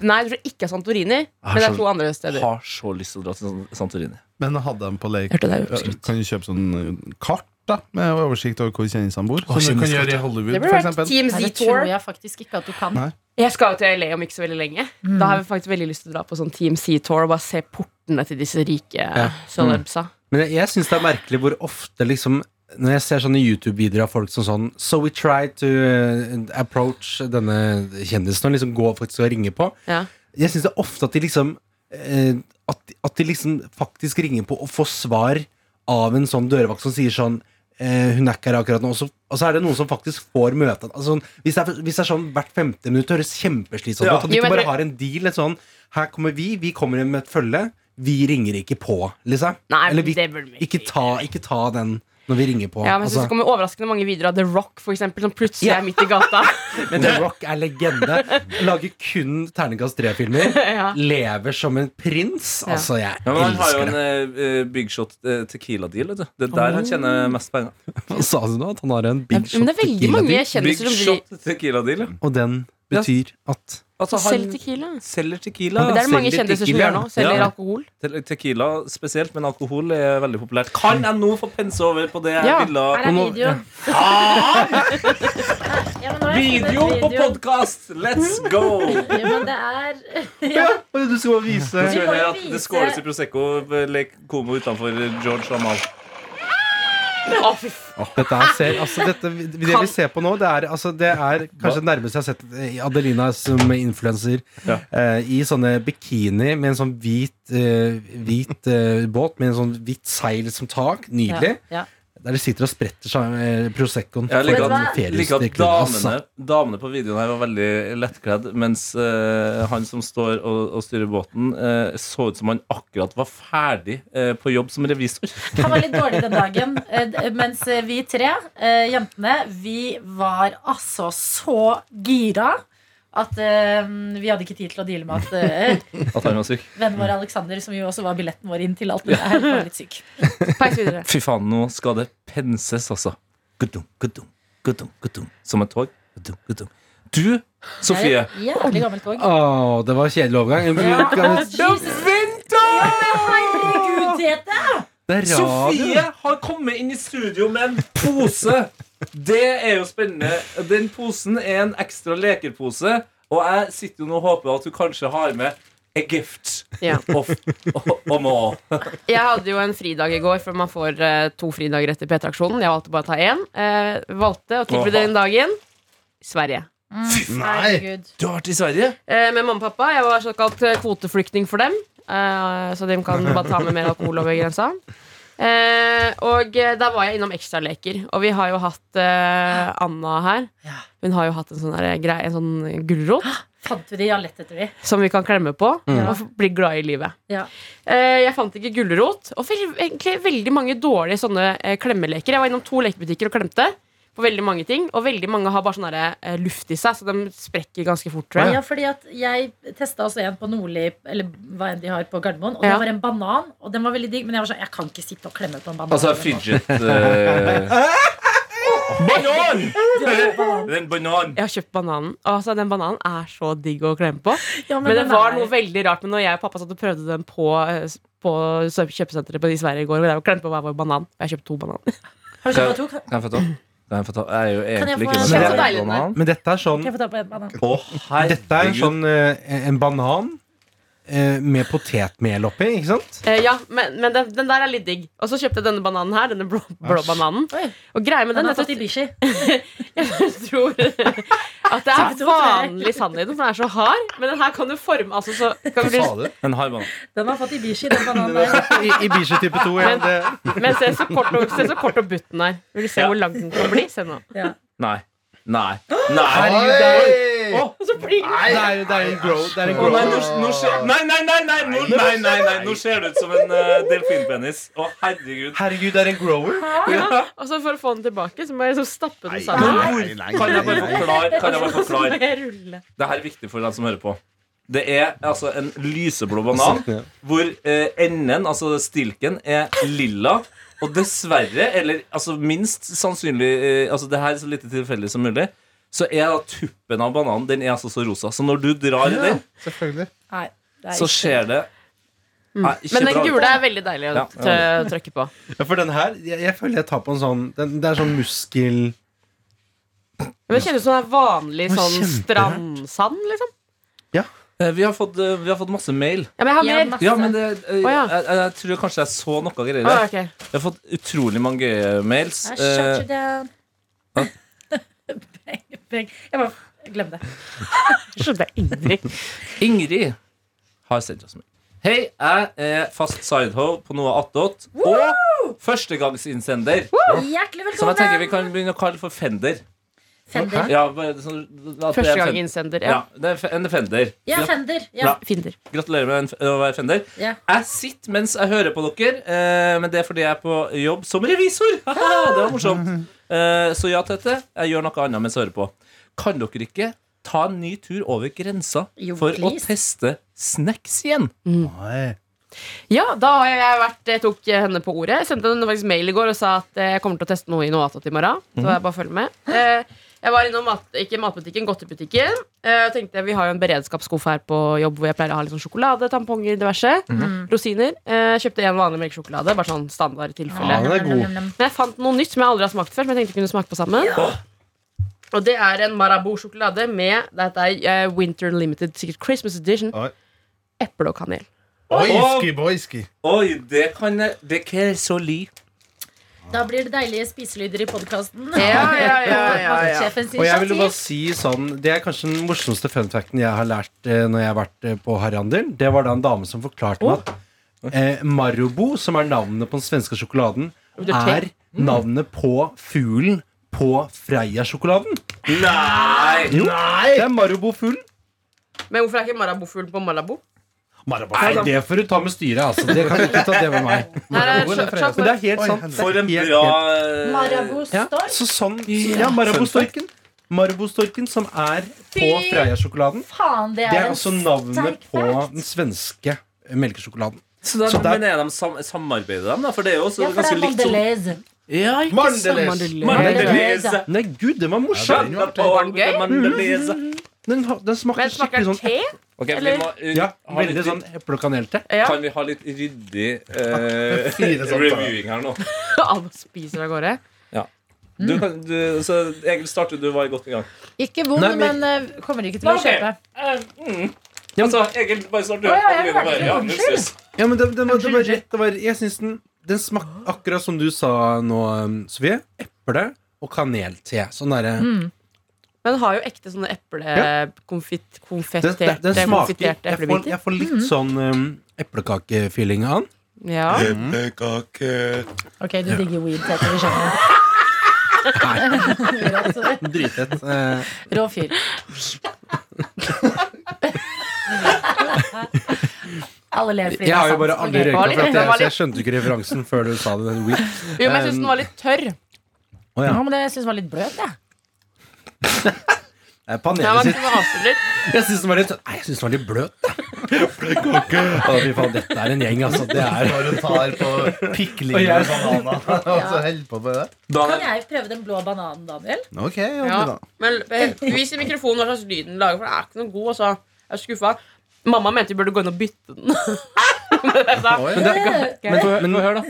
S4: Nei, jeg tror ikke det er Santorini, men det er to andre steder.
S2: har så lyst til å dra til San- Santorini.
S6: Men hadde de på leik
S4: Hørte deg jo,
S6: Ja, Kan du kjøpe sånn eh, kart da med oversikt over hvor kjendisene bor? Som du kan gjøre i Hollywood,
S4: Det
S6: for
S4: burde vært
S6: eksempel.
S4: Team
S3: Nei, det tror
S4: Z-tour.
S3: jeg faktisk ikke at du kan.
S6: Nei.
S4: Jeg skal jo til LA om ikke så veldig lenge. Da har jeg faktisk veldig lyst til å dra på sånn Team C-tour og bare se portene til disse rike celebsa.
S5: Men jeg, jeg syns det er merkelig hvor ofte liksom når jeg ser sånne YouTube-videoer av folk som sånn So we try to eh, approach denne kjendisen og liksom gå faktisk og ringe på.
S4: Ja.
S5: Jeg syns det er ofte at de liksom eh, at, de- at de liksom faktisk ringer på og får svar av en sånn dørvakt som sier sånn eh, hun er ikke her akkurat nå. Og så, og så er det noen som faktisk får møte altså, sånn, hvis, det er, hvis det er sånn hvert femte minutt, det høres kjempeslitsomt ut.
S2: Ja.
S5: At de
S4: Jo, men
S5: ikke
S4: det-
S5: bare har en deal. Et sånn Her kommer vi, vi kommer med et følge. Vi ringer ikke på, liksom.
S4: Nei,
S5: Eller vi
S4: det burde vi
S5: ikke ta, ikke ta den når vi ringer på.
S4: Ja, men jeg synes
S5: altså.
S4: Det kommer overraskende mange videoer av The Rock for eksempel, som plutselig
S5: Ja.
S4: er midt i gata.
S5: Men The Rock er legende. Lager kun terningkast tre-filmer.
S4: ja.
S5: Lever som en prins.
S4: Ja.
S5: Altså, jeg
S2: Ja, men han har jo
S5: elsker
S2: en
S5: det.
S2: eh, eh, Big Shot eh, Tequila-deal. vet du. Det er der han tjener mest penger.
S5: Hva sa du nå? At han har en big shot
S4: Men det er veldig
S5: tequila
S4: mange
S5: drink,
S2: Big
S4: kjendiser som driver
S2: Shot Tequila-deal, ja.
S5: Og den betyr at
S2: Altså,
S4: Selg
S2: han
S4: tequila.
S2: selger tequila.
S4: Men det er det mange
S5: selger
S4: kjendiser som
S5: tequila.
S4: gjør nå. Selger
S2: Ja.
S4: alkohol.
S2: Te- Tequila spesielt, men alkohol er veldig populært. Kan jeg nå få pense over på det jeg
S4: Ja.
S2: ville?
S3: Her er
S5: nå-
S3: videoen. Ja, men nå har jeg
S2: Video
S3: funnet
S2: på
S3: videoen.
S2: podkast! Let's go!
S3: Ja, men det er
S6: Du skal bare vise
S2: Skal vi
S3: må jo
S2: høre at
S3: vise-
S2: det skåles i Prosecco ved Lake Como utenfor George Lamal.
S4: Å, fy f-
S5: Dette her ser, altså dette, det vi ser på nå, det er, altså, det er kanskje det nærmeste jeg har sett eh, Adelina som influenser.
S2: Ja.
S5: Eh, I sånne bikini med en sånn hvit, eh, hvit eh, båt med en sånn hvitt seil som tak. Nydelig.
S3: Ja, ja.
S5: Der de sitter og spretter seg eh, Proseccoen.
S2: Jeg liker
S5: foran
S3: at-
S5: feriestyrken,
S2: Like at
S5: altså.
S2: damene, damene på videoen her var veldig lettkledd, mens eh, han som står og, og styrer båten, eh, så ut som han akkurat var ferdig eh, på jobb som revisor.
S3: Han var litt dårlig den dagen. eh, d- Mens eh, vi tre, eh, jentene, vi var altså så gira at eh, vi hadde ikke tid til å deale med at eh,
S2: At han var syk.
S3: vennen vår Alexander, som jo også var billetten vår inn til alt det her, var litt syk.
S4: Peis videre.
S2: Fy faen, nå skal det penses, altså. Gudum, gudum, gudum, gudum. Som et tog. Gudum, gudum. Du, Sofie. Ah,
S3: Det er et Jævlig gammelt tog.
S5: Åh, det var en kjedelig overgang.
S3: Herregud, Tete!
S5: Det er radio.
S2: Sofie har kommet inn i studio med en pose. Det er jo spennende. Den posen er en ekstra lekerpose, og jeg sitter jo nå og håper at du kanskje har med a gift
S4: Ja.
S2: of, om å
S4: Jeg hadde jo en fridag i går, for man får eh, to fridager etter P3-aksjonen. Jeg valgte bare å ta én. Eh, valgte å tilby den dagen Sverige.
S6: Nei!
S3: Herregud.
S2: Du har vært i Sverige?
S4: Eh, med mamma og pappa. Jeg var såkalt eh, kvoteflyktning for dem. Eh, så de kan bare ta med mer alkohol over grensa. Eh, og eh, da var jeg innom ekstraleker. Og vi har jo hatt eh, Anna her. Hun har jo hatt en sånn, der greie- en sånn gulrot
S3: Fant vi det? Ja, lett etter vi.
S4: som vi kan klemme på
S3: Ja.
S4: og f- bli glad i livet.
S3: Ja.
S4: Eh, jeg fant ikke gulrot. Og vel, egentlig veldig mange dårlige sånne eh, klemmeleker. Jeg var innom to lekebutikker og klemte på veldig mange ting. Og veldig mange har bare sånn derre, eh, luft i seg, så de sprekker ganske fort, tror jeg.
S3: Ja, fordi at jeg testa også en på Nordli, eller hva enn de har på Gardermoen. Og
S4: Ja.
S3: det var en banan, og den var veldig digg, men jeg var sånn, jeg kan ikke sitte og klemme på en banan.
S2: Altså fidget eh, Banan! Det er en banan.
S4: Jeg har kjøpt bananen. Altså, den bananen er så digg å klemme på.
S3: Ja,
S4: Men det
S3: den
S4: var
S3: er-
S4: noe veldig rart Men når jeg og pappa satt og prøvde den på, eh, s- på sø- kjøpesenteret på i Sverige i går, og det var klemt på hver vår banan. Jeg har kjøpt to bananer.
S3: Har du
S2: Kan
S3: kjøpt to? Kan
S2: kan jeg få ta? Kan jeg få ta? Jeg er jo egentlig
S3: få-
S2: ikke
S5: Det er så
S2: glad i
S4: deilig,
S2: banan.
S5: Men dette er sånn
S3: jeg få ta på en banan?
S2: Å,
S5: Dette er en
S2: herregud.
S5: sånn eh, en banan eh, med potetmel oppi, ikke sant?
S4: Eh, ja, men, men den, den der er litt digg. Og så kjøpte jeg denne bananen her. Denne blå, blå bananen.
S3: Oi.
S4: Og greia med
S3: Den har
S4: den er at
S3: fått i
S4: jeg
S3: bishi.
S4: tror at det er
S3: Så-
S4: vanlig sannhet, for den er så hard. Men den her kan du forme altså, så, kan du,
S2: En hard banan.
S3: Den har fått i bishi, den bananen der.
S5: I, i Bishu type 2. Ja,
S4: Men-
S5: det,
S4: Men se så kort og, se så kort og butten er. Vil du se
S2: Ja.
S4: hvor lang den kan bli? Se nå.
S3: Ja.
S2: Nei. Nei. Nei.
S6: Oi!
S2: Å,
S5: Det er jo det er jo en grow. Det er en
S2: Å,
S5: grow.
S2: nei, nå, nå skjer, nei, nei, nei, nei, nå, nei, nei, nei, nå ser det ut som en eh, delfinpenis. Å, herregud.
S5: Herregud, det er en grower.
S2: Ja.
S4: Og så for å få den tilbake, så må jeg liksom stappe den
S2: Men
S4: sammen.
S2: hvor- Kan jeg bare forklare? Kan jeg bare
S4: Og så må
S2: forklare?
S4: jeg rulle.
S2: Det her er viktig for deg som hører på. Det er altså en lyseblå banan
S5: Ja.
S2: hvor eh, enden, altså stilken, er lilla. Og dessverre, eller altså minst sannsynlig eh, Altså det her er så lite tilfeldig som mulig, så er da tuppen av bananen Den er altså så rosa. Så når du drar i den,
S6: Selvfølgelig.
S3: Nei, det er
S2: så
S3: ikke-
S2: skjer det Nei, ikke
S4: Mm. Men den
S2: bra.
S4: gule er veldig deilig å
S2: Ja.
S4: t- trykke på.
S5: Ja, for den her, jeg, jeg føler jeg tar på en sånn den, Det er sånn muskel
S4: Men det kjennes som det er vanlig
S5: Å,
S4: sånn
S5: kjemperart.
S4: strandsand, liksom.
S2: Eh, Vi har fått, eh, vi har fått masse mail.
S4: Ja, men jeg
S3: Ja,
S4: har mer.
S3: masse.
S2: Ja, men det, eh,
S4: Å, ja.
S2: jeg, jeg, jeg tror kanskje jeg så noe greier der.
S4: Ah, ok.
S2: Jeg har fått utrolig mange gøye mails.
S3: I
S2: Eh,
S3: shut you down. Bang, bang. Jeg bare Glem det.
S4: Jeg skjønte jeg ingenting.
S2: Ingrid har sendt oss mail. Hei, jeg er fast sidehow på noe attåt. Og førstegangsinnsender.
S3: Hjertelig
S2: Som jeg tenker vi
S3: velkommen!
S2: kan begynne å kalle for fender.
S3: Fender.
S2: Ja, bare sånn at det er
S4: Første
S2: en
S4: gang
S2: fen-
S4: innsender.
S2: Ja,
S4: Ja.
S2: det er fe- en fender.
S3: Ja,
S2: Ja.
S3: Fender. Ja.
S2: Ja.
S4: Finder.
S2: Gratulerer med en f- å være fender.
S3: Ja.
S2: Jeg sitter mens jeg hører på dere, eh, men det er fordi jeg er på jobb som revisor. Haha, det var morsomt. Eh, Så ja, Tete, jeg gjør noe annet mens jeg hører på. Kan dere ikke ta en ny tur over grensa
S3: Jo,
S2: for å
S3: please.
S2: teste snacks igjen?
S5: Nei.
S4: Ja, da har jeg vært, jeg tok henne på ordet. Jeg sendte henne faktisk mail i går og sa at eh, jeg kommer til å teste noe i Noatot i morgen. Så
S2: Mhm.
S4: jeg bare følger med. Eh, Jeg var innom mat, ikke matbutikken, godtebutikken. Eh, og tenkte Vi har jo en beredskapsskuff her på jobb hvor jeg pleier å ha litt sånn sjokolade, tamponger, diverse.
S2: Mhm.
S4: Rosiner. Eh, Jeg kjøpte en vanlig melkesjokolade. Bare sånn standard tilfelle.
S5: Ja, den er god.
S4: Men jeg fant noe nytt som jeg aldri har smakt før, som jeg tenkte jeg kunne smake på sammen. Og det er en Marabou-sjokolade med dette er eh, Winter Limited, sikkert Christmas Edition.
S6: Oi.
S4: Eple og kanel.
S6: Oiski, boiski.
S2: Oi, det kan jeg Det kan jeg så li.
S3: Da blir det deilige spiselyder i podkasten.
S4: Ja, ja, ja, ja, ja.
S5: Og jeg ville bare si sånn Det er kanskje den morsomste fun facten jeg har lært eh, Når jeg har vært eh, på Harandel. Det var da en dame som forklarte meg at eh, Marobo, som er navnet på den svenske sjokoladen,
S4: Det er
S5: er
S4: te.
S5: navnet på fuglen på Freia-sjokoladen.
S2: Nei!
S5: Jo, det er Marobo-fuglen.
S4: Men hvorfor er ikke marabou-fuglen på Malabo?
S5: Nei, det får du ta med styret, altså. Det kan du ikke ta det med meg.
S4: Her er
S6: Marabou eller
S4: sj-
S6: Freia?
S5: Men det er
S4: sjokolade.
S5: helt
S6: Oi,
S5: sant.
S2: For en
S5: Helt,
S2: bra
S3: Marabou
S5: Ja,
S3: Storm.
S5: så sånn Ja, Marabostorken. Marabostorken, som er på
S3: Fy
S5: Freia-sjokoladen.
S3: Faen, det er,
S5: Det er
S3: en
S5: altså navnet
S3: sterk
S5: på
S3: fact.
S5: den svenske melkesjokoladen.
S2: Så da
S5: Så der-
S2: men er de sam samarbeider de, da? For det er jo også
S3: Ja, for det
S2: ganske
S3: er
S2: likt sånn
S3: Mondelez.
S2: Ja, ikke
S6: Mandeles.
S4: Mandelin.
S2: Mandelez.
S3: Mandelez.
S5: Nei, gud, den var
S6: Ja,
S5: morsom!
S6: den
S4: Var den gøy?
S2: Mandelez.
S5: Den, ha- den smakte
S4: Men smaker
S5: skikkelig
S4: den
S5: sånn
S4: te?
S2: Ok, vi
S4: Eller-
S2: må uh,
S5: Mm. Ja,
S2: ha litt,
S5: veldig sånn eple- og kanel-te.
S4: Ja.
S2: Kan vi ha litt ryddig eh,
S6: Fire
S5: sånn-
S6: sånne.
S2: reviewing her nå?
S4: Alle spiser av gårde.
S3: Mm.
S2: Du kan, du, så Egil startet, du var godt i gang.
S3: Ikke vond,
S5: Nei,
S3: men,
S5: men-
S3: eh, kommer ikke til å
S2: Ok.
S3: kjøpe.
S2: Altså, Egil, bare start, du.
S3: Eh, mm. Å, ja, jeg
S2: Adeline,
S3: hørte
S2: bare,
S3: det.
S2: ja,
S3: Unnskyld.
S2: nusses.
S5: Ja, men den, den, var, den var rett. Det var, jeg syns den, den smakte akkurat som du sa nå, um, Sofie. Eple og kanel-te. Sånn derre
S4: Men den har jo ekte sånne eplekonfiterte
S5: Den, den, den smaker
S4: Konfiterte
S5: jeg får,
S4: eplebiter.
S5: jeg får litt sånn um, eplekakefeeling av den.
S4: Ja.
S6: Mm.
S3: Ok, du digger weed, Tete. Vi skjønner. Greit.
S5: Dritfett. Eh,
S3: Rå fyr. Alle ler fordi det
S5: Jeg
S3: er
S5: har jo
S3: sant.
S5: bare
S3: Ok.
S5: aldri røyka,
S4: Var litt-
S5: for at
S4: det
S5: jeg,
S4: var
S5: så jeg
S4: litt-
S5: skjønte ikke referansen før du sa det. Eh, Den weed.
S4: Jo, men jeg syns den var litt tørr.
S5: Å ja.
S3: Ja, men det syns jeg var litt bløt, jeg.
S5: Eh,
S4: Den var
S5: Panelet sitt.
S4: litt avslørt.
S5: Jeg syns den var litt Nei, jeg synes den var litt bløt. Eplekake. Å, Fy faen, dette er en gjeng, altså. Det er
S6: Når hun tar på
S5: Og
S6: pikling
S5: jeg-
S6: og bananer og så holder på med det.
S3: Kan
S2: Daniel,
S3: jeg prøve den blå bananen, Daniel?
S6: Ok, ja,
S4: Ja.
S6: men da.
S4: Men eh, vis i mikrofonen hva slags lyd den lager, for den er ikke noe god. Altså. Jeg er skuffa. Mamma mente vi burde gå inn og bytte den. Men jeg sa,
S6: Oi.
S5: Men, men hør, da.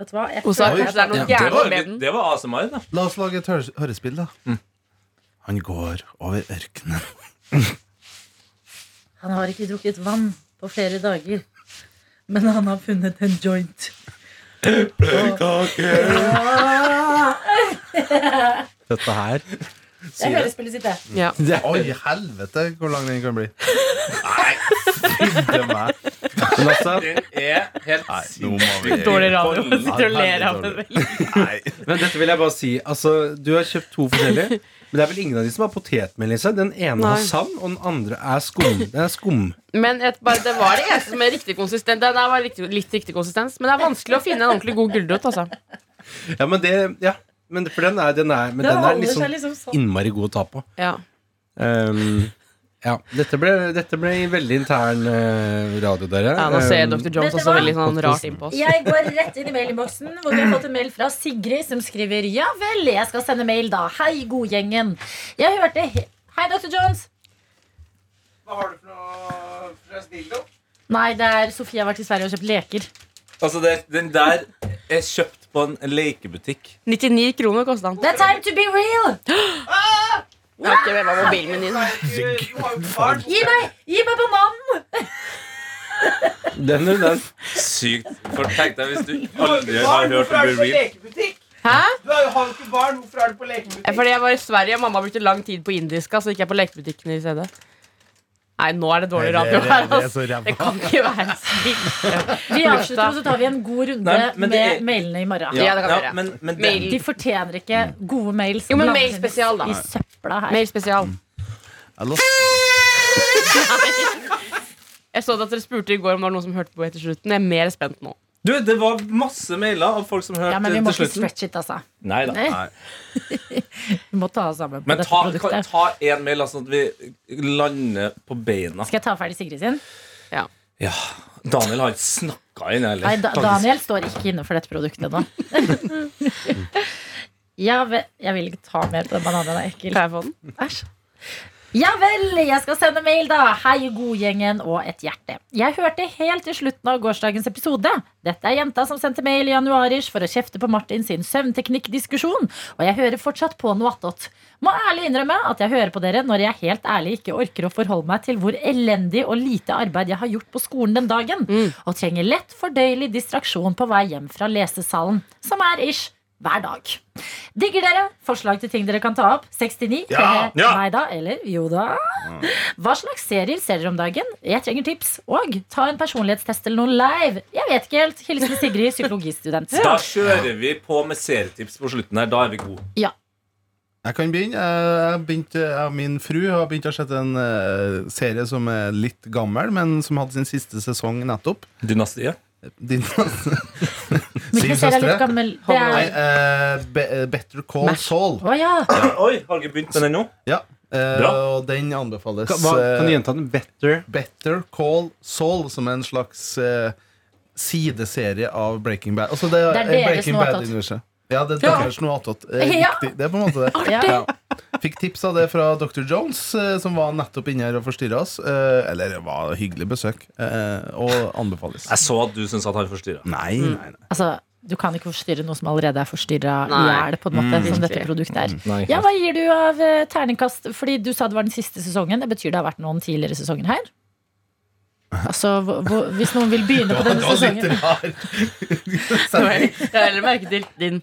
S3: Vet du hva? Jeg
S4: Hun sa
S3: prøver-
S4: kanskje det er noe
S5: Ja,
S2: det
S4: gærent
S2: var,
S4: med den.
S2: det var ASMR, da.
S6: La oss lage et høres- hørespill, da. Han går over ørkenen.
S3: Han har ikke drukket vann på flere dager, men han har funnet en joint.
S5: Dette her
S3: Det er hørespillet sitt, det.
S4: Ja.
S5: det er,
S6: Oi, helvete, hvor lang den kan bli. Fydde meg.
S5: Men altså,
S2: Den er helt
S6: Nei, nå
S2: sinnssyk.
S6: må vi
S4: Dårlig radio.
S2: Hold-
S4: Sitter og ler av det.
S6: Veldig
S4: vel.
S6: Nei.
S5: men dette vil jeg bare si. Altså, du har kjøpt to forskjellige. Men det er vel ingen av de som har potetmel i seg. Den ene har
S4: Nei.
S5: sand, og den andre er skum. Den er skum.
S4: Men et, bare, det var det eneste som er riktig konsistent. Den her var riktig, litt riktig konsistens, men det er vanskelig å finne en ordentlig god gulrot. Altså.
S5: Ja, men det Ja. Men for den er, den er, men den er liksom
S3: liksom sånn.
S5: innmari god å ta på.
S4: Ja.
S5: Ehm, ja, dette ble, dette ble veldig intern eh, radio, dere.
S4: Ja, nå ser
S5: Ehm,
S4: Dr.
S3: Vet
S4: Jones
S3: du
S4: også
S3: hva?
S4: veldig sånn rart inn på oss.
S3: Jeg går rett inn i mailinnboksen, hvor vi har fått en mail fra Sigrid, som skriver Ja vel, jeg skal sende mail, da. Hei, godgjengen. Jeg hørte he Hei, Dr. Jones. Nei, det er Sofie har vært i Sverige og kjøpt leker.
S2: Altså, det, den der er kjøpt på en lekebutikk.
S4: 99 kroner kosta den.
S3: Det er time to be real!
S4: Jeg har ikke med meg mobilen min inn.
S3: Gi meg, gi meg bananen!
S5: Den, den, den.
S2: Sykt. For tenk deg hvis du aldri har hørt om Real.
S4: Hæ?
S7: har jo ikke barn, hvorfor er du på lekebutikk?
S4: Fordi jeg var i Sverige, og mamma brukte lang tid på indiska, så gikk jeg på lekebutikken i stedet. Nei, nå er det dårlig
S6: Nei,
S4: radio
S6: det-
S4: her,
S6: det- det er
S4: altså.
S6: så ræva.
S4: Det kan ikke være slik.
S3: Vi avslutter, og så tar vi en god runde
S2: Nei, men det
S3: med
S2: er-
S3: mailene i morgen.
S4: Ja, det kan vi gjøre.
S2: men, men det,
S4: Mail.
S3: De fortjener ikke gode mails.
S4: Jo, men
S3: blandet
S4: mail spesial, da.
S3: I søpla her.
S4: Mer spesial.
S6: Jeg lå-
S4: Jeg så at dere spurte i går om det var noen som hørte på etter slutten. Jeg er mer spent nå.
S2: du, det var masse mailer av folk som hørte
S3: Ja, men vi må
S2: til
S3: ikke
S2: slutten.
S3: stretch it, altså.
S2: Nei da.
S3: Nei. Vi må ta oss sammen på
S2: Men
S3: dette
S2: ta, kan-
S3: produktet.
S2: ta en mail, da, sånn at vi lander på beina.
S3: Skal jeg ta ferdig Sigrid sin?
S2: Ja. Daniel har ikke snakka inn heller.
S3: Nei, da,
S2: Eh, faktisk.
S3: Daniel står ikke inne for dette produktet ennå. ja vel Jeg vil ikke ta mer på den bananen. Det er ekkelt.
S4: Kan jeg få den?
S3: Æsj. Ja vel, jeg skal sende mail, da. Hei, godgjengen og et hjerte. Jeg hørte helt til slutten av gårsdagens episode. Dette er jenta som sendte mail i januarish for å kjefte på Martin sin søvnteknikkdiskusjon, og jeg hører fortsatt på noe attåt. Må ærlig innrømme at jeg hører på dere når jeg helt ærlig ikke orker å forholde meg til hvor elendig og lite arbeid jeg har gjort på skolen den dagen, og trenger lett fordøyelig distraksjon på vei hjem fra lesesalen, som er ish hver dag. Digger dere. Forslag til ting dere kan ta opp. 69.
S6: Ja!
S2: Ja!
S3: Nei da. Eller jo da. Hva slags serier ser dere om dagen? Jeg trenger tips. Og ta en personlighetstest eller noe live. Jeg vet ikke helt. Hilsen Sigrid, psykologistudent.
S2: Da kjører vi på med serietips på slutten her. Da er vi gode.
S6: Jeg kan begynne. Jeg, jeg begynte, jeg, min fru har begynt å sette en eh, serie som er litt gammel, men som hadde sin siste sesong nettopp.
S2: Dynastiet.
S6: Din
S3: Hvilken serie er litt gammel? Det
S6: Nei,
S3: er
S6: eh, Be eh, Better Call Saul.
S3: Å ja.
S2: Oi, har ikke begynt med den ennå?
S6: Ja, eh,
S2: Bra.
S6: og den anbefales.
S5: Kan, hva, kan du
S6: eh,
S5: gjenta den? Better
S6: Better Call Saul, som er en slags eh, sideserie av Breaking Bad. Altså, det,
S3: Det er
S6: er
S3: deres
S6: Breaking
S3: noe
S6: Bad
S3: attåt.
S6: universet. Ja, det er
S3: Ja.
S6: deres noe attåt. Eh,
S3: Ja.
S6: riktig. Det er på en måte det.
S3: ja.
S6: Ja. Fikk tips av det fra Dr. Jones, eh, som var nettopp inne her og forstyrra oss. Eh, Eller det var hyggelig besøk, eh, og anbefales.
S2: Jeg så at du syntes at han forstyrra.
S6: Nei, nei, nei.
S3: Altså, du kan ikke forstyrre noe som allerede er forstyrra i
S4: Nei.
S3: hjel, på en måte, som dette
S4: Virkelig.
S3: produktet er.
S2: Nei.
S3: Ja, Hva gir du av eh, terningkast? Fordi du sa det var den siste sesongen. Det betyr det har vært noen tidligere sesonger her? Altså, hvor, hvor, Hvis noen vil begynne på denne
S6: Det var
S3: sesongen
S6: litt rar stemning.
S4: Jeg har heller merket til din.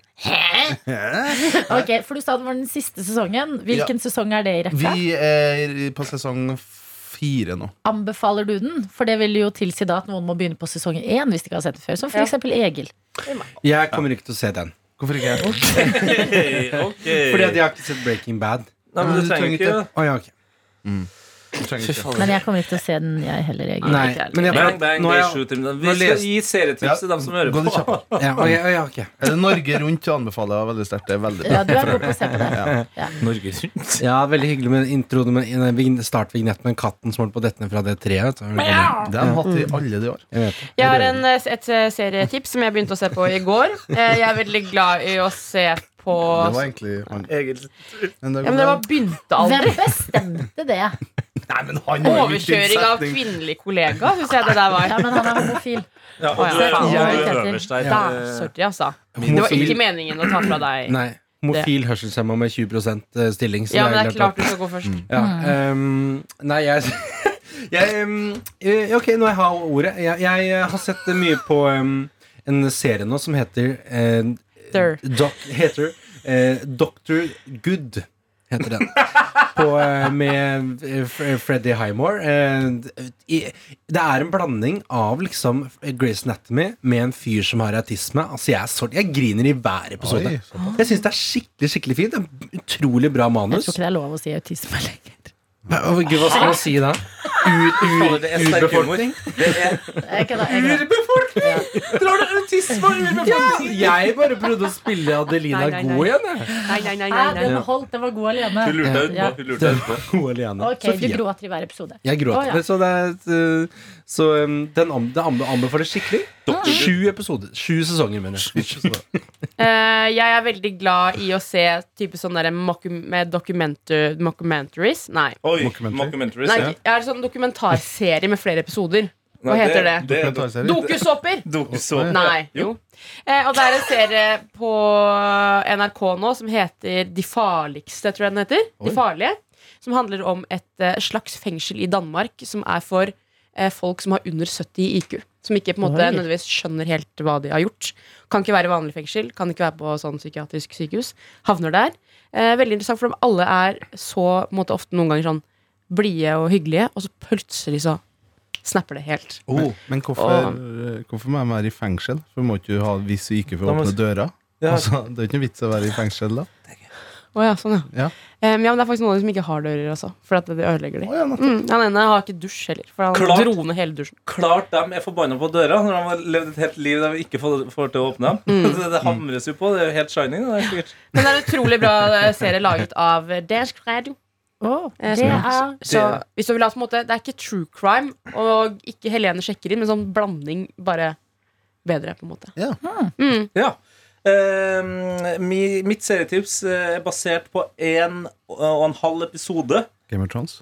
S3: Ok, For du sa det var den siste sesongen. Hvilken sesong er det i rekka?
S6: Vi er på sesong fire nå.
S3: Anbefaler du den? For det vil jo tilsi da at noen må begynne på sesong én hvis de ikke har sett den før. Som for eksempel Egil.
S5: Jeg kommer ikke til å se den.
S6: Hvorfor ikke?
S2: Hey, okay.
S5: Fordi at jeg har ikke sett Breaking Bad.
S2: Nei, men du
S6: Du
S2: trenger
S6: trenger
S2: ikke
S5: Å, ja, ok.
S6: Du trenger ikke.
S3: Men jeg kommer ikke til å se den, jeg heller, Egil.
S5: Nei, men jeg,
S2: Bang, bang,
S5: nå
S2: det
S5: er
S2: er
S5: jeg,
S2: sju timer.
S5: nå
S2: Vi skal
S5: les-
S2: gi serietips til dem som hører
S6: Gå litt
S2: på.
S6: kjappere.
S5: ja, å, ja, å, ja, ok.
S6: Er det Norge Rundt anbefaler jeg veldig sterkt. Det er veldig
S3: Ja, du er god på å se på det.
S2: Norge rundt.
S5: ja, veldig hyggelig med introen med en vign- startvignett med katten som holdt på å dette ned fra det treet. Så, jeg
S6: Det har de hatt i alle de år.
S5: vet det.
S4: Jeg har en, eh, et eh, serietips som jeg begynte å se på i går. Eh, Jeg er veldig glad i å se på
S6: Det var egentlig han. Men det
S4: ja, men Dere bare begynte aldri.
S3: Hvem bestemte det?
S6: Nei, men han har jo ikke
S4: Overkjøring av
S6: setning.
S4: kvinnelig kollega, syns jeg det der var.
S3: Ja, men han er homofil.
S2: Ja, og
S4: Å, ja.
S2: du er
S3: Faen,
S2: du er
S3: Petter.
S2: øverst der.
S3: Da,
S2: Eh,
S4: Sorry, altså. Det var ikke
S5: Homofil,
S4: meningen å ta fra deg.
S5: nei, homofil hørselshemma med 20 stilling. Så
S4: Ja, men det er
S5: at- Mm.
S4: klart Mm. du skal gå først.
S5: Ja, ehm, nei, jeg, jeg ehm, eh, Ok, når jeg har ordet. Jeg, jeg eh, har sett eh, mye på ehm, en serie nå som heter eh,
S4: Der.
S5: doc, Heter eh, Doctor Good. heter den. På, eh, med eh, F- Freddy Highmore. Eh, i- Det er en blanding av liksom Grace Anatomy med en fyr som har autisme. Altså Jeg, er så, jeg griner i hver episode.
S6: Oi,
S5: jeg syns det er skikkelig skikkelig fint. Det er en Utrolig bra
S8: Jeg
S5: manus.
S8: tror ikke det er lov å si autisme lenger.
S5: Hva å, Gud, hva skal man si da?
S2: Fader, det er sterk humor. Det er
S3: Jeg kødda, jeg kødda.
S2: Drar du autisme og urbefolkning?
S5: Jeg bare prøvde å spille Adelina
S4: Nei, nei, nei.
S5: god igjen, jeg.
S4: Nei, nei, nei,
S3: Nei,
S4: nei, nei.
S3: den holdt, den var god alene.
S2: Hun lurte deg
S3: Ja.
S2: utpå. Hun lurte deg utpå.
S5: God alene.
S3: Ok, du
S5: Sofie.
S3: gråter i hver episode.
S5: Jeg gråter.
S3: Å, ja.
S5: men Så, det, er et, uh, så um, den anbe- det anbe- anbefales skikkelig. Sju episoder. Sju sesonger, mener jeg.
S4: Eh, jeg er veldig glad i å se type sånne der moku- med documentar mockumentaries. Nei.
S2: Oi,
S6: Mockumentary.
S2: mockumentaries.
S4: Nei,
S2: ja.
S4: jeg er sånn dokumentarserie med flere episoder. Hva
S2: Nei,
S4: heter det?
S2: det er do-
S6: Dokumentarserie.
S4: Dokusåper!
S2: Dokusåpe.
S4: Nei. Jo. Eh, og det er en serie på NRK nå som heter De farligste, tror jeg den heter. De farlige. Som handler om et eh, slags fengsel i Danmark som er for eh, folk som har under 70 i IQ. Som ikke på en måte
S8: Oi.
S4: nødvendigvis skjønner helt hva de har gjort. Kan ikke være i vanlig fengsel, kan ikke være på sånn psykiatrisk sykehus. Havner der. Eh, veldig interessant, for de alle er så på en måte, ofte noen ganger sånn blide og hyggelige, og så plutselig så snapper det helt.
S6: Men, men hvorfor, hvorfor må de være i fengsel? For må ikke du ha hvis du ikke får
S5: Da må-
S6: åpne døra?
S5: Ja.
S6: Altså, det er jo ikke noe vits å være i fengsel da.
S4: Å ja, sånn, ja.
S6: Ja.
S4: Eh, men ja, men det er faktisk noen av de som ikke har dører, altså. For at det ødelegger de.
S6: Å, ja, nettopp.
S4: Mm, han ene har ikke dusj heller, for han
S2: Klart.
S4: dro ned hele dusjen.
S2: Klart de er forbanna på døra når de har levd et helt liv der vi ikke får får til å åpne dem.
S4: Mm.
S2: Det- Det hamres jo på. Det er jo helt shining. Det er sikkert.
S4: Men det er en utrolig bra eh, serie laget av eh, dansk radio.
S3: Å,
S4: Eh,
S3: det
S4: som-
S3: er
S4: Så hvis du vil ha på en måte Det er ikke true crime, og ikke Helene sjekker inn, men sånn blanding bare bedre, på en måte.
S2: Ja. Ehm, mi, mitt serietips eh, er basert på en og en halv episode.
S6: Game of Thrones.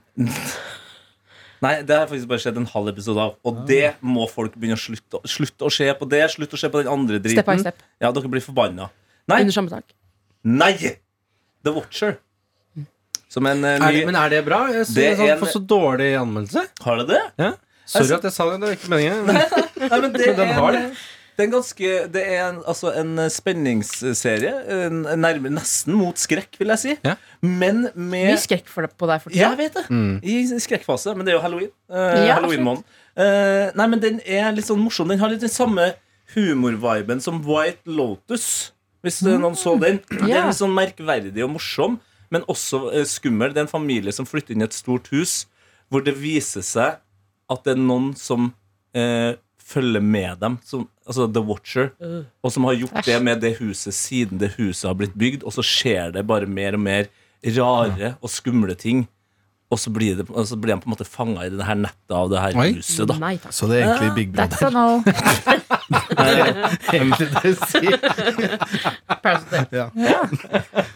S2: Nei, det har faktisk bare skjedd en halv episode av. Og
S5: Ah.
S2: det må folk begynne å slutte, slutte å se på det. Slutt å se på den andre driten.
S4: Step by step.
S2: Ja, dere blir forbanna. Nei!
S4: Under samme tak.
S2: Nei! The Watcher. Som en eh,
S5: Er det,
S2: ny
S5: men er det bra? Jeg
S2: Det
S5: synes det
S2: er
S5: er sånn,
S2: en-
S5: for så dårlig anmeldelse.
S2: Har det det?
S5: Ja. Sorry
S2: Altså-
S5: at jeg sa det, det var ikke meningen. Men
S2: Nei, men det
S5: Men den
S2: er en-
S5: har det. eh,
S2: Det er en ganske Det er en, altså en spenningsserie. En, en nærme, nesten mot skrekk, vil jeg si.
S5: Ja.
S2: Men
S4: Mye
S2: med
S4: skrekk for deg på deg for
S2: Jeg
S4: tida.
S2: vet det! I skrekkfase. Men det er jo halloween. Eh,
S4: Ja,
S2: Halloween-måneden. Eh, nei, men den er litt sånn morsom. Den har litt den samme humorviben som White Lotus. Hvis eh, noen så den. Den er litt sånn merkverdig og morsom, men også eh, skummel. Det er en familie som flytter inn i et stort hus, hvor det viser seg at det er noen som eh, følger med dem, som, altså The Watcher, og som har gjort det med det huset siden det huset har blitt bygd, og så skjer det bare mer og mer rare og skumle ting. Og så blir, det, og så blir han på en måte fanga i det her nettet av det her
S5: Oi.
S2: huset. da
S4: Nei takk.
S6: Så det er egentlig Big Brother.
S3: That's a no.
S6: Egentlig det jeg sier.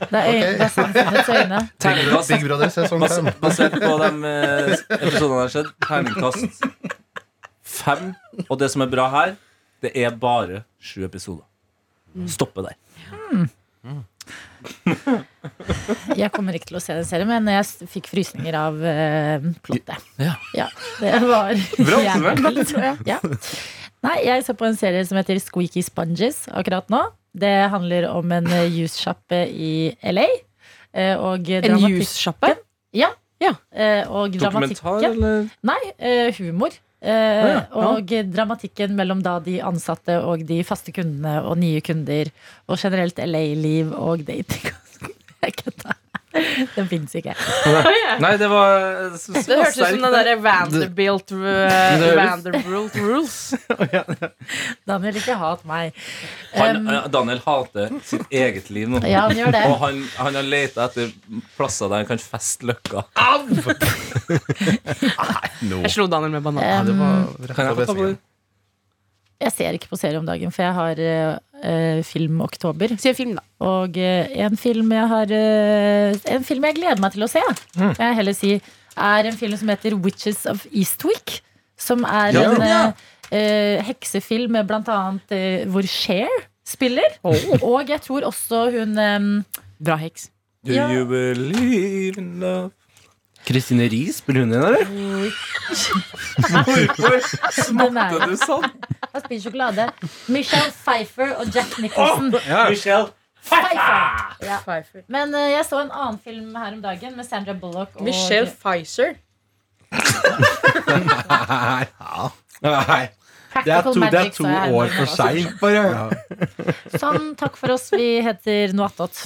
S3: Det er, øyne, det er samfunnets øyne.
S2: Terningkast
S6: Big Brother sesong
S2: bas-
S6: 5.
S2: basert på de eh, episodene der har skjedd. Terningkast fem. Og det som er bra her, det er bare sju episoder. Stoppe der.
S3: Jeg kommer ikke til å se den serien, men jeg s- fikk frysninger av eh, plottet.
S2: Ja.
S3: det var
S2: Bra oppsummert.
S3: jævlig, tror jeg. Ja. Nei, jeg så på en serie som heter Squeaky Sponges akkurat nå. Det handler om en eh, juicesjappe i LA. eh, Og
S4: En
S3: dramatikk-
S4: juicesjappe?
S3: eh, Og
S2: Dokumentar,
S3: dramatikken
S2: eller?
S3: Nei, eh, humor. Eh,
S2: ja, ja.
S3: Og dramatikken mellom da de ansatte og de faste kundene og nye kunder. Og generelt LA-liv og dating. Jeg kødda. Den fins ikke.
S2: Nei, det var
S4: Det hørtes ut som den derre Vanderbilt eh,
S5: høres-
S4: Vanderbilt rules.
S3: Daniel, ikke hat meg.
S2: han,
S3: Um,
S2: eh, Daniel hater sitt eget liv nå.
S3: Ja, han gjør det.
S2: Og han, han har leta etter plasser der han kan feste løkka.
S4: Jeg slo Daniel med banan.
S3: Um,
S2: Kan jeg få ta på det?
S3: jeg ser ikke på serie om dagen, for jeg har eh, eh, film oktober.
S4: Si en film, da.
S3: Og eh, en film jeg har eh, En film jeg gleder meg til å se,
S5: Mm.
S3: kan jeg heller si, er en film som heter 'Witches of Eastwick'. Som er
S5: Ja.
S3: en eh, eh, heksefilm med blant annet eh, hvor Cher spiller.
S5: Oh.
S3: Og jeg tror også hun eh,
S4: Bra heks.
S2: Do
S3: Ja.
S2: you believe in love?
S5: Kristine Rie, spiller hun igjen, eller?
S2: Hvorfor
S3: den
S2: er
S3: er,
S2: du sånn?
S3: jeg spiser sjokolade. Michelle Pfeiffer og Jack Nicholson.
S2: Michelle
S3: Pfeiffer. Ja.
S4: Pfeiffer.
S3: Men eh, jeg så en annen film her om dagen med Sandra Bullock og
S4: Michelle Pfizer.
S5: Nei. Det er
S3: Practical
S5: to, det er
S3: Magic,
S5: to
S3: sa jeg her
S5: år
S3: nå,
S5: for
S3: altså.
S5: seint, bare.
S3: Sånn, takk for oss. Vi heter Noe attåt.